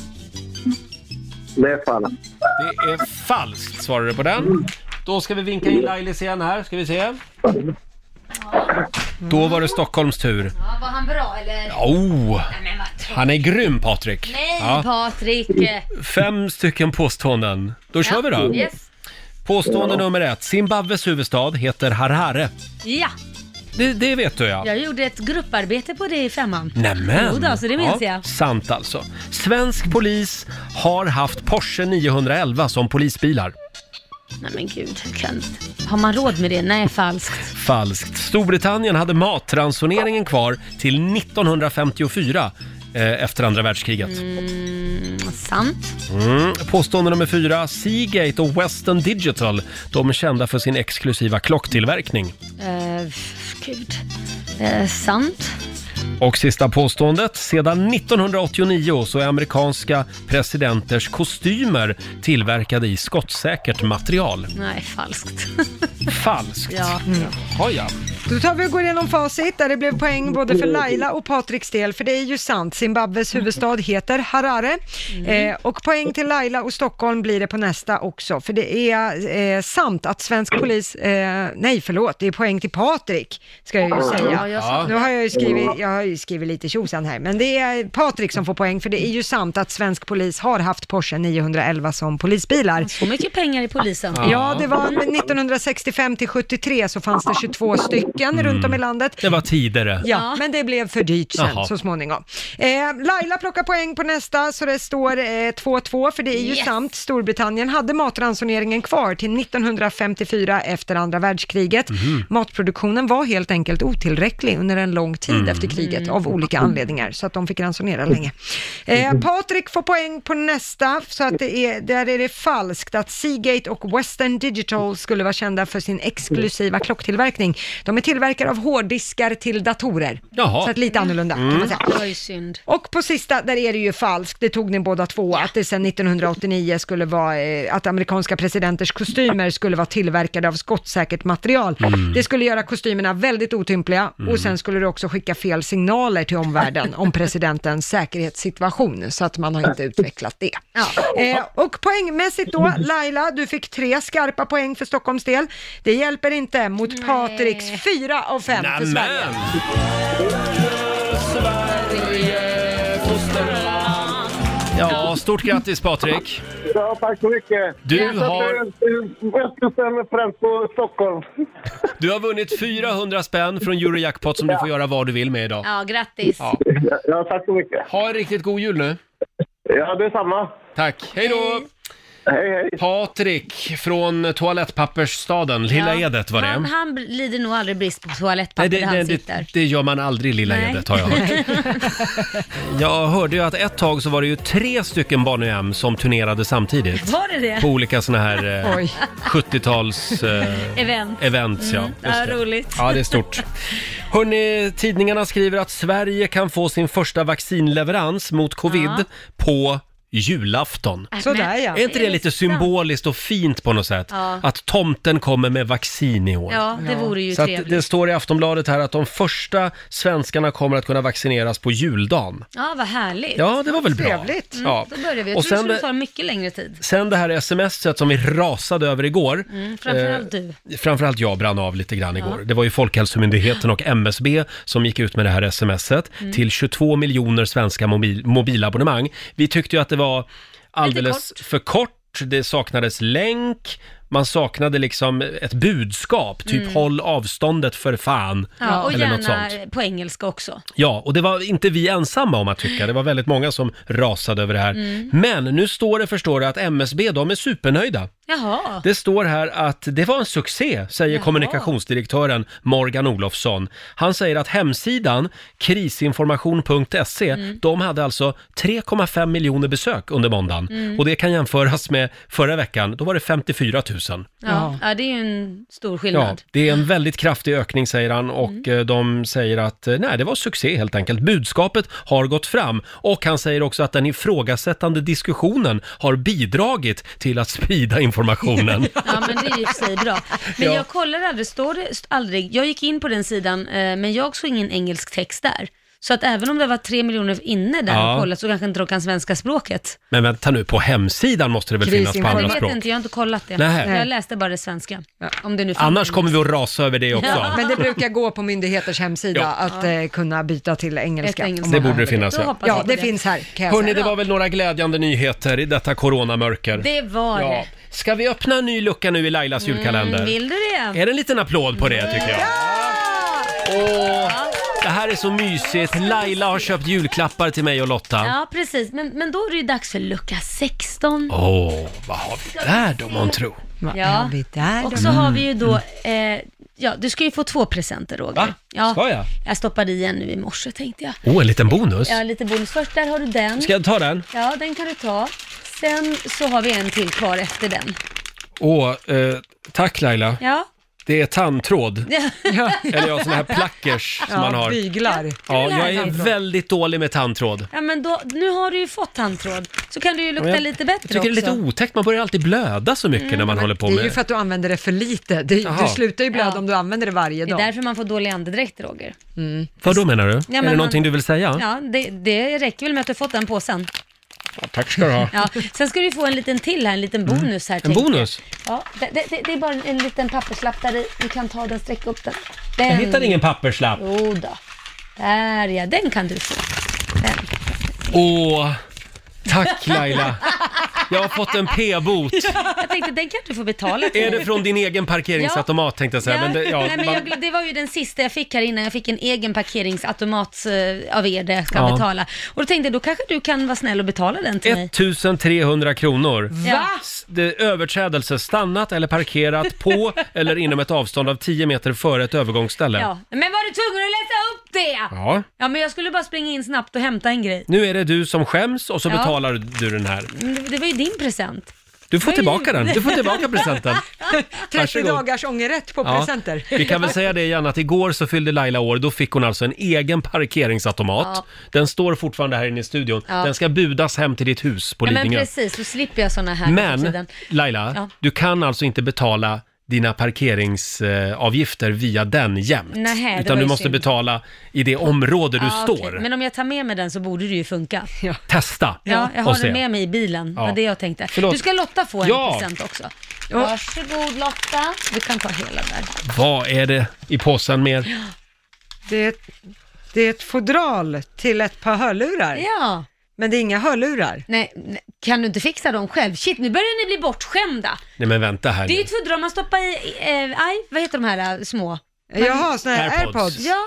S15: Det är falskt.
S1: Det är falskt, svarar du på den. Då ska vi vinka in Lailis igen här, ska vi se. Då var det Stockholms tur.
S7: Ja, var han bra eller?
S1: Oh,
S7: Nej, men vad tråkigt.
S1: han är grym Patrik!
S7: Nej
S1: Ja.
S7: Patrik!
S1: Fem stycken påståenden. Då kör vi då!
S7: Yes.
S1: Påstående
S7: Ja.
S1: nummer ett. Zimbabwes huvudstad heter Harare.
S7: Ja,
S1: Det, det vet du ja.
S7: jag gjorde ett grupparbete på det i femman.
S1: Nämen!
S7: Jo då, så det minns
S1: ja,
S7: jag.
S1: Sant alltså. Svensk polis har haft Porsche 911 som polisbilar.
S7: Nej men gud, jag kan inte. Har man råd med det? Nej, falskt.
S1: Falskt. Storbritannien hade matransoneringen kvar till 1954 eh, efter andra världskriget.
S7: Mm, sant.
S1: Mm. Påstående nummer fyra. Seagate och Western Digital, de är kända för sin exklusiva klocktillverkning.
S7: Eh, f- gud. Eh, sant.
S1: Och sista påståendet. Sedan 1989 så är amerikanska presidenters kostymer tillverkade i skottsäkert material.
S7: Nej, falskt. *laughs*
S1: Falskt.
S7: Ja.
S1: Har jag?
S2: Då tar vi och går igenom facit där det blev poäng både för
S7: Mm.
S2: Laila och Patriks del, för det är ju sant. Zimbabwes huvudstad heter Harare.
S7: Mm.
S2: Eh, och poäng till Laila och Stockholm blir det på nästa också, för det är eh, sant att svensk polis, eh, nej förlåt, det är poäng till Patrik, ska jag ju
S7: Ja,
S2: säga.
S7: jag sa det.
S2: Nu har jag ju skrivit, jag har ju skrivit lite tjosan här, men det är Patrik som får poäng, för det är ju sant att svensk polis har haft Porsche 911 som polisbilar.
S7: Så mycket pengar i polisen.
S2: Ja, det var 1965 till 73 så fanns det 22 stycken runt om i landet.
S1: Det var tidigare.
S2: Ja, men det blev för dyrt sen
S1: Jaha.
S2: så småningom. Eh, Laila plockar poäng på nästa så det står eh, 2-2 för det är ju
S7: Yes.
S2: sant. Storbritannien hade matransoneringen kvar till 1954 efter andra världskriget.
S7: Mhm.
S2: Matproduktionen var helt enkelt otillräcklig under en lång tid
S7: Mm.
S2: efter kriget av olika anledningar så att de fick ransonera länge. Eh,
S7: Mm.
S2: Patrik får poäng på nästa så att det är, där är det falskt att Seagate och Western Digital skulle vara kända för sin exklusiva klocktillverkning. De är tillverkare av hårddiskar till datorer.
S1: Jaha.
S2: Så att lite annorlunda kan man säga.
S7: Alltså, Det var ju synd.
S2: Och på sista, där är det ju falskt, det tog ni båda två, att det sedan 1989 skulle vara, eh, att amerikanska presidenters kostymer skulle vara tillverkade av skottsäkert material.
S7: Mm.
S2: Det skulle göra kostymerna väldigt otympliga
S7: Mm.
S2: och sen skulle det också skicka fel signaler till omvärlden om presidentens säkerhetssituation, så att man har inte utvecklat det. Eh, och poängmässigt då, Laila, du fick tre skarpa poäng för Stockholms del. Det hjälper inte mot Patriks fyra av fem för
S1: Nämen!
S2: Sverige.
S1: Ja, stort grattis Patrik!
S15: Ja, tack så mycket.
S1: Du
S15: Jag sätter
S1: har-
S15: en- en- Jag ställer främst på Stockholm.
S1: Du har vunnit 400 spänn från Eurojackpot som du får göra vad du vill med idag.
S7: Ja, grattis.
S15: Ja, tack så mycket.
S1: Ha en riktigt god jul nu.
S15: Ja, detsamma.
S1: Tack, hej då!
S15: Hej, hej.
S1: Patrik från toalettpappersstaden, Lilla
S7: Ja.
S1: Edet var det.
S7: Han, han lider nog aldrig brist på
S1: Nej,
S7: toalettpapper
S1: det,
S7: där han
S1: det,
S7: sitter.
S1: det, det gör man aldrig i Lilla
S7: Nej.
S1: Edet har jag hört.
S7: *laughs*
S1: Jag hörde ju att ett tag så var det ju tre stycken Bonnie M som turnerade samtidigt.
S7: Var det det?
S1: På olika såna här eh,
S7: *laughs* Oj.
S1: 70-tals... Eh,
S7: Event.
S1: Events, ja.
S7: Mm,
S1: Just
S7: ja, roligt.
S1: Ja, det är stort. Hörrni, tidningarna skriver att Sverige kan få sin första vaccinleverans mot covid
S7: Ja.
S1: på julafton.
S2: Sådär ja.
S1: Är inte det lite symboliskt och fint på något sätt?
S7: Ja.
S1: Att tomten kommer med vaccin i år.
S7: Ja, det vore ju
S1: Så att
S7: trevligt.
S1: det står i Aftonbladet här att de första svenskarna kommer att kunna vaccineras på juldagen.
S7: Ja, vad härligt.
S1: Ja, det var väl bra.
S7: Trevligt. Mm,
S1: Ja.
S7: Då börjar vi. Jag
S1: Och
S7: tror det
S1: sen
S7: skulle
S1: det-
S7: ta mycket längre tid.
S1: Sen det här smset som vi rasade över igår. Eh,
S7: Mm, framförallt du.
S1: Framförallt jag brann av lite grann
S7: Ja.
S1: igår. Det var ju Folkhälsomyndigheten och MSB som gick ut med det här smset
S7: Mm.
S1: till 22 miljoner svenska mobil, mobilabonnemang. Vi tyckte ju att det var alldeles för kort, det saknades länk, man saknade liksom ett budskap, typ
S7: Mm.
S1: håll avståndet för fan.
S7: Ja, och
S1: eller något sånt.
S7: gärna på engelska också.
S1: Ja, och det var inte vi ensamma om att tycka. Det var väldigt många som rasade över det här.
S7: Mm.
S1: Men nu står det, förstår du, att MSB, de är supernöjda.
S7: Jaha.
S1: Det står här att det var en succé, säger
S7: Jaha.
S1: kommunikationsdirektören Morgan Olofsson. Han säger att hemsidan krisinformation.se,
S7: Mm.
S1: de hade alltså 3,5 miljoner besök under måndagen.
S7: Mm.
S1: Och det kan jämföras med förra veckan, då var det 54 000.
S7: Ja, ja. det är ju en stor
S1: Ja,
S7: skillnad.
S1: det är en väldigt kraftig ökning säger han och
S7: Mm.
S1: eh, de säger att eh, nej, det var succé helt enkelt. Budskapet har gått fram och han säger också att den ifrågasättande diskussionen har bidragit till att
S7: *laughs*
S1: sprida informationen.
S7: Ja, men det är ju i och för sig bra. Men
S1: Ja.
S7: jag kollar aldrig, står det st- aldrig, jag gick in på den sidan, eh, men jag såg ingen engelsk text där. Så att även om det var tre miljoner inne där
S1: Ja.
S7: och kollat så kanske inte de kan svenska språket.
S1: Men vänta nu, på hemsidan måste det väl finnas på
S7: jag
S1: andra
S7: vet
S1: språk?
S7: inte, jag har inte kollat det.
S1: Nej.
S7: Jag läste bara det svenska. Om det nu finns.
S1: Annars kommer vi att rasa över det också.
S2: Ja, men det brukar gå på myndigheters hemsida
S1: Ja.
S2: att eh, kunna byta till engelska.
S1: engelska.
S2: om
S1: Det
S2: man
S1: borde det
S2: använder
S1: finnas, ja. Då hoppas
S2: Ja,
S1: jag på
S2: det
S1: det.
S2: finns här kan jag
S1: Hörni,
S2: säga.
S1: det var väl några glädjande nyheter i detta coronamörker.
S7: Det var det.
S1: Ska vi öppna en ny lucka nu i Lailas julkalender?
S7: Mm, vill du det?
S1: Är det en liten applåd på det tycker jag? Åh, det här är så mysigt. Laila har köpt julklappar till mig och Lotta.
S7: Ja, precis. Men, men då är det ju dags för lucka 16.
S1: Åh, vad har vi där då månntro?
S7: Ja.
S2: vi där
S7: och
S2: då?
S7: så har vi ju då, eh, ja du ska ju få två presenter Roger. Ja.
S1: Mm. Ska jag?
S7: Jag stoppade i en nu i morse tänkte jag.
S1: Åh, en liten bonus.
S7: Ja, lite bonus. Först där har du den.
S1: Ska jag ta den?
S7: Ja, den kan du ta. Sen så har vi en till kvar efter den.
S1: Åh, eh, tack Laila.
S7: Ja.
S1: Det är tandtråd.
S7: *laughs* Ja.
S1: Eller ja, såna här plackers som
S7: Ja,
S1: man har.
S7: byglar.
S1: Ja,
S7: Det här
S1: jag
S7: är
S1: är
S7: tandtråd.
S1: väldigt dålig med tandtråd.
S7: Ja, men då, nu har du ju fått tandtråd. Så kan du ju lukta
S1: Ja, jag-
S7: lite bättre
S1: Jag tycker det är lite
S7: också. Mm,
S1: otäckt, man börjar alltid blöda så mycket när man håller på
S2: Det
S1: med...
S2: är ju för att du använder det för lite. Det,
S1: Jaha.
S2: du slutar ju blöda om du använder det varje
S7: Det är
S2: dag.
S7: därför man får dålig andedräkt Roger.
S1: Vad då menar du?
S7: Ja,
S1: är
S7: men
S1: det
S7: man-
S1: någonting du vill säga?
S7: Ja, det, det räcker väl med att du har fått den påsen.
S1: tack ska du ha.
S7: Ja. Sen ska du få en liten till här, en liten bonus här.
S1: Mm. En
S7: tänkte jag.
S1: bonus?
S7: Ja, det, det- det, det är bara en, en liten papperslapp där i. Du kan ta den, sträcka upp den. den.
S1: Jag hittar ingen papperslapp.
S7: *laughs* Jo då. Där ja, den kan du få.
S1: Åh, tack Laila. Jag har fått en p-bot.
S7: Jag tänkte, den kan du få betala
S1: *laughs*
S7: till.
S1: Är det från din egen parkeringsautomat tänkte jag säga. Men det, ja,
S7: *laughs* Nej, men
S1: man-
S7: jag, glöm- det var ju den sista jag fick här innan jag fick en egen parkeringsautomat eh, av er där jag ska
S1: Ja.
S7: betala. Och då tänkte jag, då kanske du kan vara snäll och betala den till mig.
S1: 1300 kronor.
S7: Ja.
S1: S- Det överträdelse, stannat eller parkerat på eller inom ett avstånd av 10 meter före ett övergångsställe.
S7: Ja. Men var du tvungen att läsa upp det?
S1: Ja.
S7: Ja, men jag skulle bara springa in snabbt och hämta en grej.
S1: Nu är det du som skäms och så
S7: Ja.
S1: betalar du den här.
S7: Men Det, det var ju din present.
S1: Du får
S7: Det var ju-
S1: tillbaka den. Du får tillbaka
S7: *laughs*
S1: presenten.
S2: 30
S1: Varsågod.
S2: dagars ångerrätt på
S1: Ja.
S2: presenter.
S1: Vi kan väl säga det igen att igår så fyllde Laila år. Då fick hon alltså en egen parkeringsautomat.
S7: Ja.
S1: Den står fortfarande här inne i studion.
S7: Ja.
S1: Den ska budas hem till ditt hus på
S7: Ja, men
S1: Lidingö.
S7: precis, då slipper jag sådana här nu för
S1: Men
S7: tiden.
S1: Laila,
S7: Ja.
S1: du kan alltså inte betala dina parkeringsavgifter via den jämt.
S7: Nähä, det
S1: utan
S7: var
S1: du
S7: ju
S1: måste
S7: synd.
S1: betala i det område du
S7: Ja, okej.
S1: står.
S7: Men om jag tar med mig den så borde det ju funka. Ja,
S1: Testa
S7: jag
S1: och
S7: har
S1: se.
S7: den med mig i bilen. Det
S1: Ja.
S7: var det jag tänkte.
S1: Förlåt.
S7: Du ska Lotta få en
S1: Ja.
S7: present också. Varsågod Lotta. Du kan ta hela där.
S1: Vad är det i påsen mer?
S2: Det är, ett, det är ett fodral till ett par hörlurar.
S7: Ja.
S2: Men det är inga hörlurar.
S7: Nej, nej, kan du inte fixa dem själv? Shit, nu börjar ni bli bortskämda.
S1: Nej men vänta här
S7: Det är ju
S1: nu.
S7: ett fodral man stoppar i, i- eh, aj, vad heter de här eh, små?
S2: Jaha, såna här Airpods. AirPods.
S7: Ja,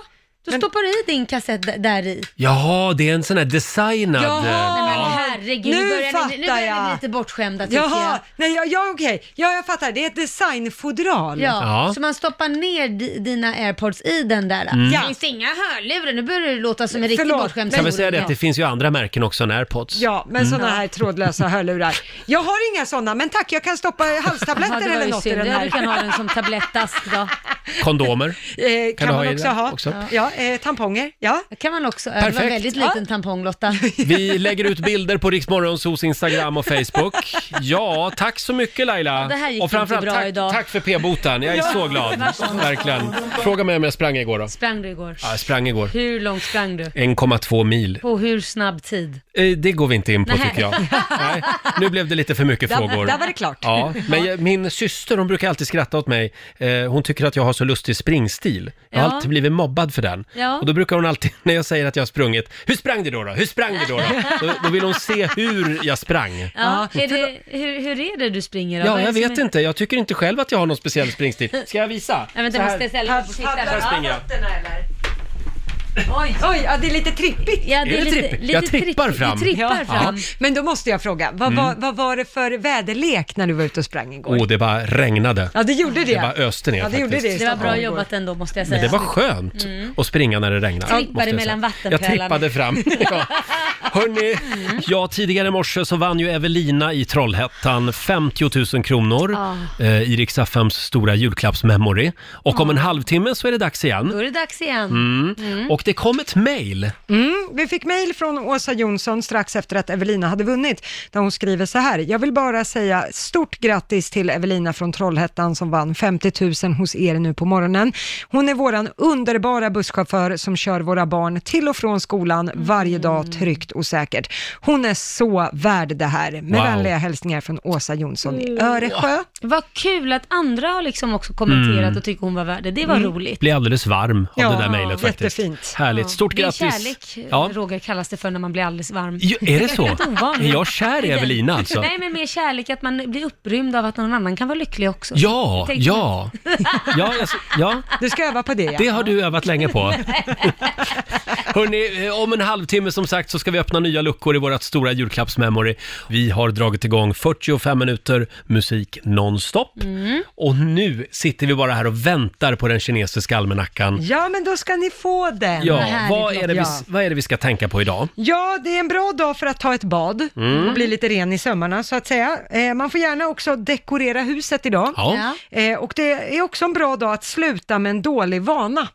S7: då stoppar du i din kassett d- där i.
S1: Jaha, det är en sån här designad... eh,
S7: Jaha, nej, men
S1: Ja.
S7: herregud,
S2: Nu
S7: nu börjar ni, nu
S2: fattar
S7: börjar ni bli
S2: jag.
S7: lite bortskämda tycker
S2: Jaha,
S7: jag.
S2: nej, ja, ja, okej. Ja, jag fattar. Det är ett designfodral.
S7: Ja, så man stoppar ner di- dina airpods i den där.
S1: Mm.
S7: Det
S1: Ja.
S7: finns inga hörlurar, nu börjar det låta som en riktig
S2: Förlåt,
S7: bortskämd
S1: Kan vi säga det
S7: hora.
S1: att det finns ju andra märken också än airpods?
S2: Ja,
S7: Mm.
S2: men såna här trådlösa hörlurar. Jag har inga såna, men tack, jag kan
S7: *laughs*
S2: stoppa
S7: Ja, det
S2: halstabletter
S7: var
S2: eller
S7: ju
S2: något i
S7: synd.
S2: den
S7: Ja,
S2: här.
S7: du kan ha den som tablettask då. *laughs*
S1: Kondomer?
S2: Eh, kan,
S1: du
S2: man
S1: i
S2: också
S1: den
S2: ha.
S1: också?
S2: Ja, eh, tamponger. Ja.
S7: kan man också.
S2: var en
S7: Det var en
S2: Perfekt.
S7: väldigt
S2: väldigt
S7: liten
S2: liten
S7: tampong Lotta.
S1: Vi lägger ut bilder på Riksmorgonsos Instagram och Facebook. Ja, tack så mycket Laila.
S7: Ja, det här gick
S1: och framförallt
S7: inte bra
S1: tack,
S7: idag.
S1: tack för p-boten. Jag är
S7: Ja.
S1: så glad.
S7: Varsågod.
S1: Verkligen. Fråga mig om jag sprang igår då.
S7: Sprang du igår?
S1: Ja, jag sprang igår.
S7: Hur långt sprang du?
S1: 1,2 mil.
S7: På hur snabb tid?
S1: Eh, Det går vi inte in på
S7: Nej.
S1: tycker jag. Nej, nu blev det lite för mycket
S7: *laughs* Där-
S1: frågor.
S7: där var det klart. *laughs*
S1: Ja, men jag, min syster hon brukar alltid skratta åt mig. Eh, Hon tycker att jag har så lustig springstil. Jag har
S7: Ja.
S1: alltid blivit mobbad för den.
S7: Ja.
S1: Och då brukar hon alltid, *laughs* när jag säger att jag har sprungit, hur sprang det då? då? Hur sprang det då?
S7: *laughs*
S1: Då, då, då vill hon se hur jag sprang.
S7: Ja, är det, hur, hur är det du springer då? Vad
S1: Ja,
S7: är
S1: jag
S7: det som
S1: vet
S7: är-
S1: inte. Jag tycker inte själv att jag har någon speciell springstil. Ska jag visa?
S7: Nej, vänta,
S1: Så
S7: jag
S1: här.
S7: måste ställa mig på sidan.
S1: Här springer jag.
S2: Oj, Oj ja, det är lite trippigt.
S7: Ja,
S1: det Är det lite- trippigt? lite Jag trippar tripp- fram. du trippar fram.
S2: Men då måste jag fråga, vad,
S1: Mm.
S2: var, vad var det för väderlek när du var ute och sprang igår?
S1: Åh, det bara regnade.
S2: Ja, det gjorde det.
S1: Det bara öste ner
S2: Ja, det gjorde
S1: faktiskt.
S2: det.
S7: Det var bra jobbat ändå måste jag säga.
S1: Men det var skönt
S7: Mm.
S1: att springa när det regnade.
S7: Trippade
S1: måste jag
S7: mellan
S1: säga. Jag
S7: vattenpölarna.
S1: trippade fram.
S7: *laughs*
S1: Ja. Hörni,
S7: Mm.
S1: ja, tidigare i morse så vann ju Evelina i Trollhättan 50 000 kronor
S7: Ah.
S1: eh, i Rix FMs stora julklappsmemory. Och om
S7: Ah.
S1: en halvtimme så är det dags
S7: Då
S1: igen.
S7: är det dags igen.
S1: Mm.
S7: Mm.
S1: Och det kom ett mejl.
S2: Mm, vi fick mejl från Åsa Jonsson strax efter att Evelina hade vunnit, där hon skriver så här. Jag vill bara säga stort grattis till Evelina från Trollhättan som vann 50 000 hos er nu på morgonen. Hon är våran underbara busschaufför som kör våra barn till och från skolan varje dag tryggt och säkert. Hon är så värd det här. Med
S7: Wow.
S2: vänliga hälsningar från Åsa Jonsson i Öresjö.
S7: Vad kul att andra har liksom också kommenterat
S1: Mm.
S7: och tycker hon var värd det. Det var roligt.
S1: Blir alldeles varm av
S7: Ja,
S1: det där mejlet faktiskt.
S7: jättefint.
S1: Härligt. Stort
S7: det är
S1: grattis.
S7: kärlek, eh,
S1: Ja.
S7: Roger, kallas det för när man blir alldeles varm.
S1: Ja, är det så?
S7: Helt ovanligt.
S1: Är jag kär i Evelina alltså?
S7: Nej, men mer kärlek, att man blir upprymd av att någon annan kan vara lycklig också.
S1: Ja,
S7: Jag tänkte-
S1: ja, ja, jag, ja.
S2: Du ska öva på det. Ja.
S1: Det har du övat länge på. Hörrni, eh, om en halvtimme som sagt så ska vi öppna nya luckor i vårt stora julklappsmemory. Vi har dragit igång 45 minuter musik nonstop. Och nu sitter vi bara här och väntar på den kinesiska almanackan.
S2: Ja, men då ska ni få den.
S1: Ja, vad är, det vi,
S2: Ja.
S1: vad är det vi ska tänka på idag?
S2: Ja, det är en bra dag för att ta ett bad
S1: Mm.
S2: och bli lite ren i sömmarna så att säga. Eh, man får gärna också dekorera huset idag.
S1: Ja.
S2: Eh, och det är också en bra dag att sluta med en dålig vana.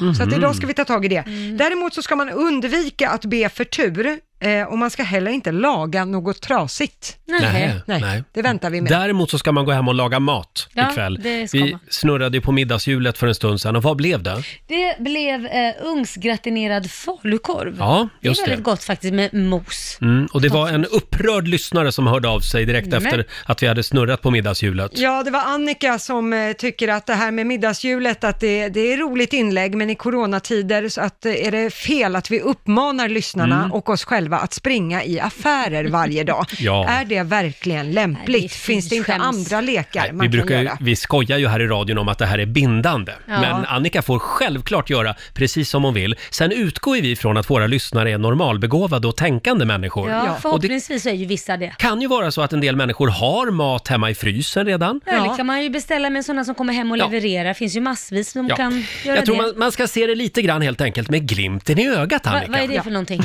S1: Mm.
S2: Så att idag ska vi ta tag i det. Däremot så ska man undvika att be för tur eh, och man ska heller inte laga något trasigt.
S1: Nej,
S2: Nej.
S1: nej.
S2: Det väntar vi med.
S1: Däremot så ska man gå hem och laga mat
S7: Ja,
S1: ikväll.
S7: det ska
S1: Vi
S7: man.
S1: snurrade ju på middagshjulet för en stund sedan och vad blev det?
S7: Det blev eh, ugnsgratinerad falukorv.
S1: Ja, just
S7: det. är väldigt
S1: det.
S7: gott faktiskt med mos.
S1: Mm, och det var en upprörd lyssnare som hörde av sig direkt
S2: Nej.
S1: efter att vi hade snurrat på middagshjulet.
S2: Ja, det var Annika som eh, tycker att det här med middagshjulet, att det, det är roligt inlägg, men i coronatider så att, eh, är det fel att vi uppmanar lyssnarna
S7: Mm.
S2: och oss själva att springa i affärer varje dag.
S1: *laughs* Ja.
S2: Är det verkligen lämpligt?
S7: Nej, det är
S2: Finns det inte
S7: skäms.
S2: andra lekar man
S1: Vi,
S2: kan
S1: brukar ju,
S2: göra?
S1: vi skojar ju här i radion om att det här är bindande.
S2: Ja.
S1: Men Annika får självklart göra precis som hon vill. Sen utgår ju vi från att våra lyssnare är normalbegåvade och tänkande människor.
S7: Ja,
S1: Och det
S7: förhoppningsvis så är ju vissa det.
S1: kan ju vara så att en del människor har mat hemma i frysen redan.
S7: Eller kan man ju beställa med sådana som kommer hem och
S1: Ja.
S7: levererar. finns ju massvis som
S1: Ja.
S7: kan göra
S1: Jag tror
S7: det.
S1: man, man ska se det lite grann helt enkelt med glimten i ögat,
S7: Va,
S1: Annika.
S7: vad är det
S1: *laughs*
S7: för någonting?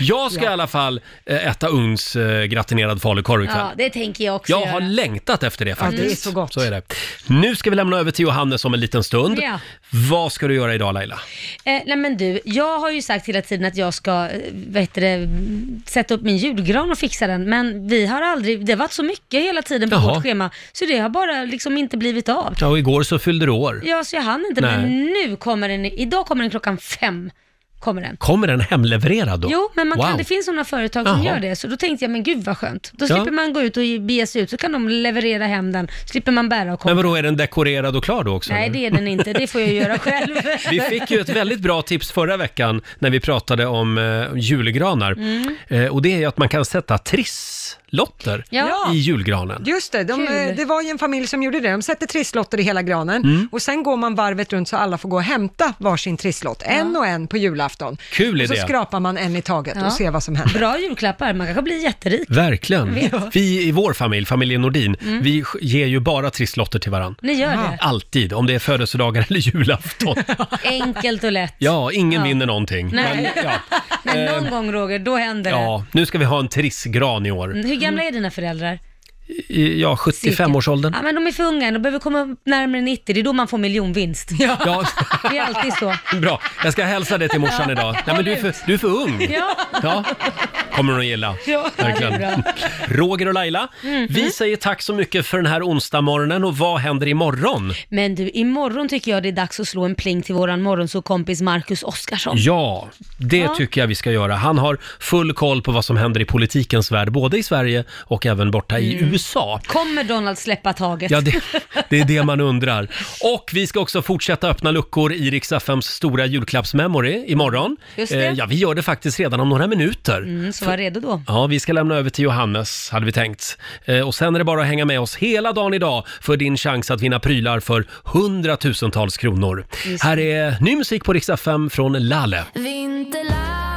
S1: Jag ska i alla fall eh, äta ugns eh, gratinerad falukorv ikväll.
S7: ja, det tänker jag också
S1: Jag
S7: göra.
S1: har längtat efter det faktiskt.
S7: det är så gott.
S1: Så är det. Nu ska vi lämna över till Johannes om en liten stund.
S7: Ja.
S1: Vad ska du göra idag Laila?
S7: Eh, nej men du, jag har ju sagt hela tiden att jag ska eh, vad heter det, sätta upp min julgran och fixa den, men vi har aldrig, det har varit så mycket hela tiden på
S1: Jaha.
S7: vårt schema, så det har bara liksom inte blivit av.
S1: Ja, och igår så fyllde du år.
S7: Ja, så jag hann inte,
S1: Nej.
S7: men nu kommer den, idag kommer den klockan fem. Kommer den.
S1: Kommer den hemlevererad då?
S7: Jo, men man
S1: Wow.
S7: kan, det finns sådana företag som
S1: Jaha.
S7: gör det, så då tänkte jag, men gud vad skönt. Då
S1: Ja.
S7: slipper man gå ut och ge- bege sig ut, så kan de leverera hem den, slipper man bära och komma.
S1: Men vadå, är den dekorerad och klar då också?
S7: Nej,
S1: eller?
S7: det är den inte, det får jag göra själv.
S1: *laughs* Vi fick ju ett väldigt bra tips förra veckan när vi pratade om eh, julgranar.
S7: Mm.
S1: Eh, och det är ju att man kan sätta trisslotter
S2: Ja.
S1: i julgranen.
S2: Just det, de,
S7: Kul.
S2: eh, det var ju en familj som gjorde det. De sätter trisslotter i hela granen
S1: Mm.
S2: och sen går man varvet runt så alla får gå och hämta varsin trisslott, en och en på julafton.
S1: Kul
S2: och så
S1: idé.
S2: skrapar man en i taget
S7: Ja.
S2: och ser vad som händer.
S7: Bra julklappar, man kanske blir jätterik.
S1: Verkligen.
S7: Ja.
S1: Vi i vår familj, familjen Nordin,
S7: Mm.
S1: vi sk- ger ju bara trisslotter till varandra.
S7: Ni gör det.
S1: Alltid, om det är födelsedagar eller
S7: *laughs*
S1: julafton.
S7: Enkelt och lätt.
S1: Ja, ingen
S7: Ja.
S1: vinner någonting.
S7: Nej.
S1: Men, ja.
S7: *laughs* Men någon
S1: Eh,
S7: gång Roger, då händer
S1: ja, nu ska vi ha en trissgran i
S7: det.
S1: år.
S7: Mm, Hur gamla är dina föräldrar?
S1: I, ja,
S7: Cirka.
S1: 75-årsåldern.
S7: Ja, men de är för unga, de behöver komma upp närmare 90, det är då man får miljonvinst.
S1: Ja. *laughs*
S7: Det är alltid så.
S1: Bra, jag ska hälsa det till morsan idag. Nej, men du är för, du är för ung.
S7: Ja.
S1: Ja, kommer hon att gilla.
S7: Ja, det är
S1: Verkligen.
S7: bra.
S1: Roger och Laila,
S7: Mhm.
S1: vi säger tack så mycket för den här onsdagmorgonen och vad händer imorgon?
S7: Men du, imorgon tycker jag det är dags att slå en pling till våran morgonsåkompis Marcus Oskarsson.
S1: Ja, det
S7: Ja.
S1: tycker jag vi ska göra. Han har full koll på vad som händer i politikens värld, både i Sverige och även borta i
S7: Mm.
S1: USA.
S7: Kommer Donald släppa taget?
S1: Ja, det, det är det man undrar. Och vi ska också fortsätta öppna luckor i Rix FMs stora julklappsmemory imorgon.
S7: Just
S1: Eh,
S7: det.
S1: Ja, vi gör det faktiskt redan om några minuter.
S7: *laughs* Mm, så var redo då.
S1: Ja, vi ska lämna över till Johannes, hade vi tänkt. Eh, Och sen är det bara att hänga med oss hela dagen idag för din chans att vinna prylar för hundratusentals kronor.
S9: Just det.
S1: Här är ny musik på Rix FM från Lalle.
S9: Vinterland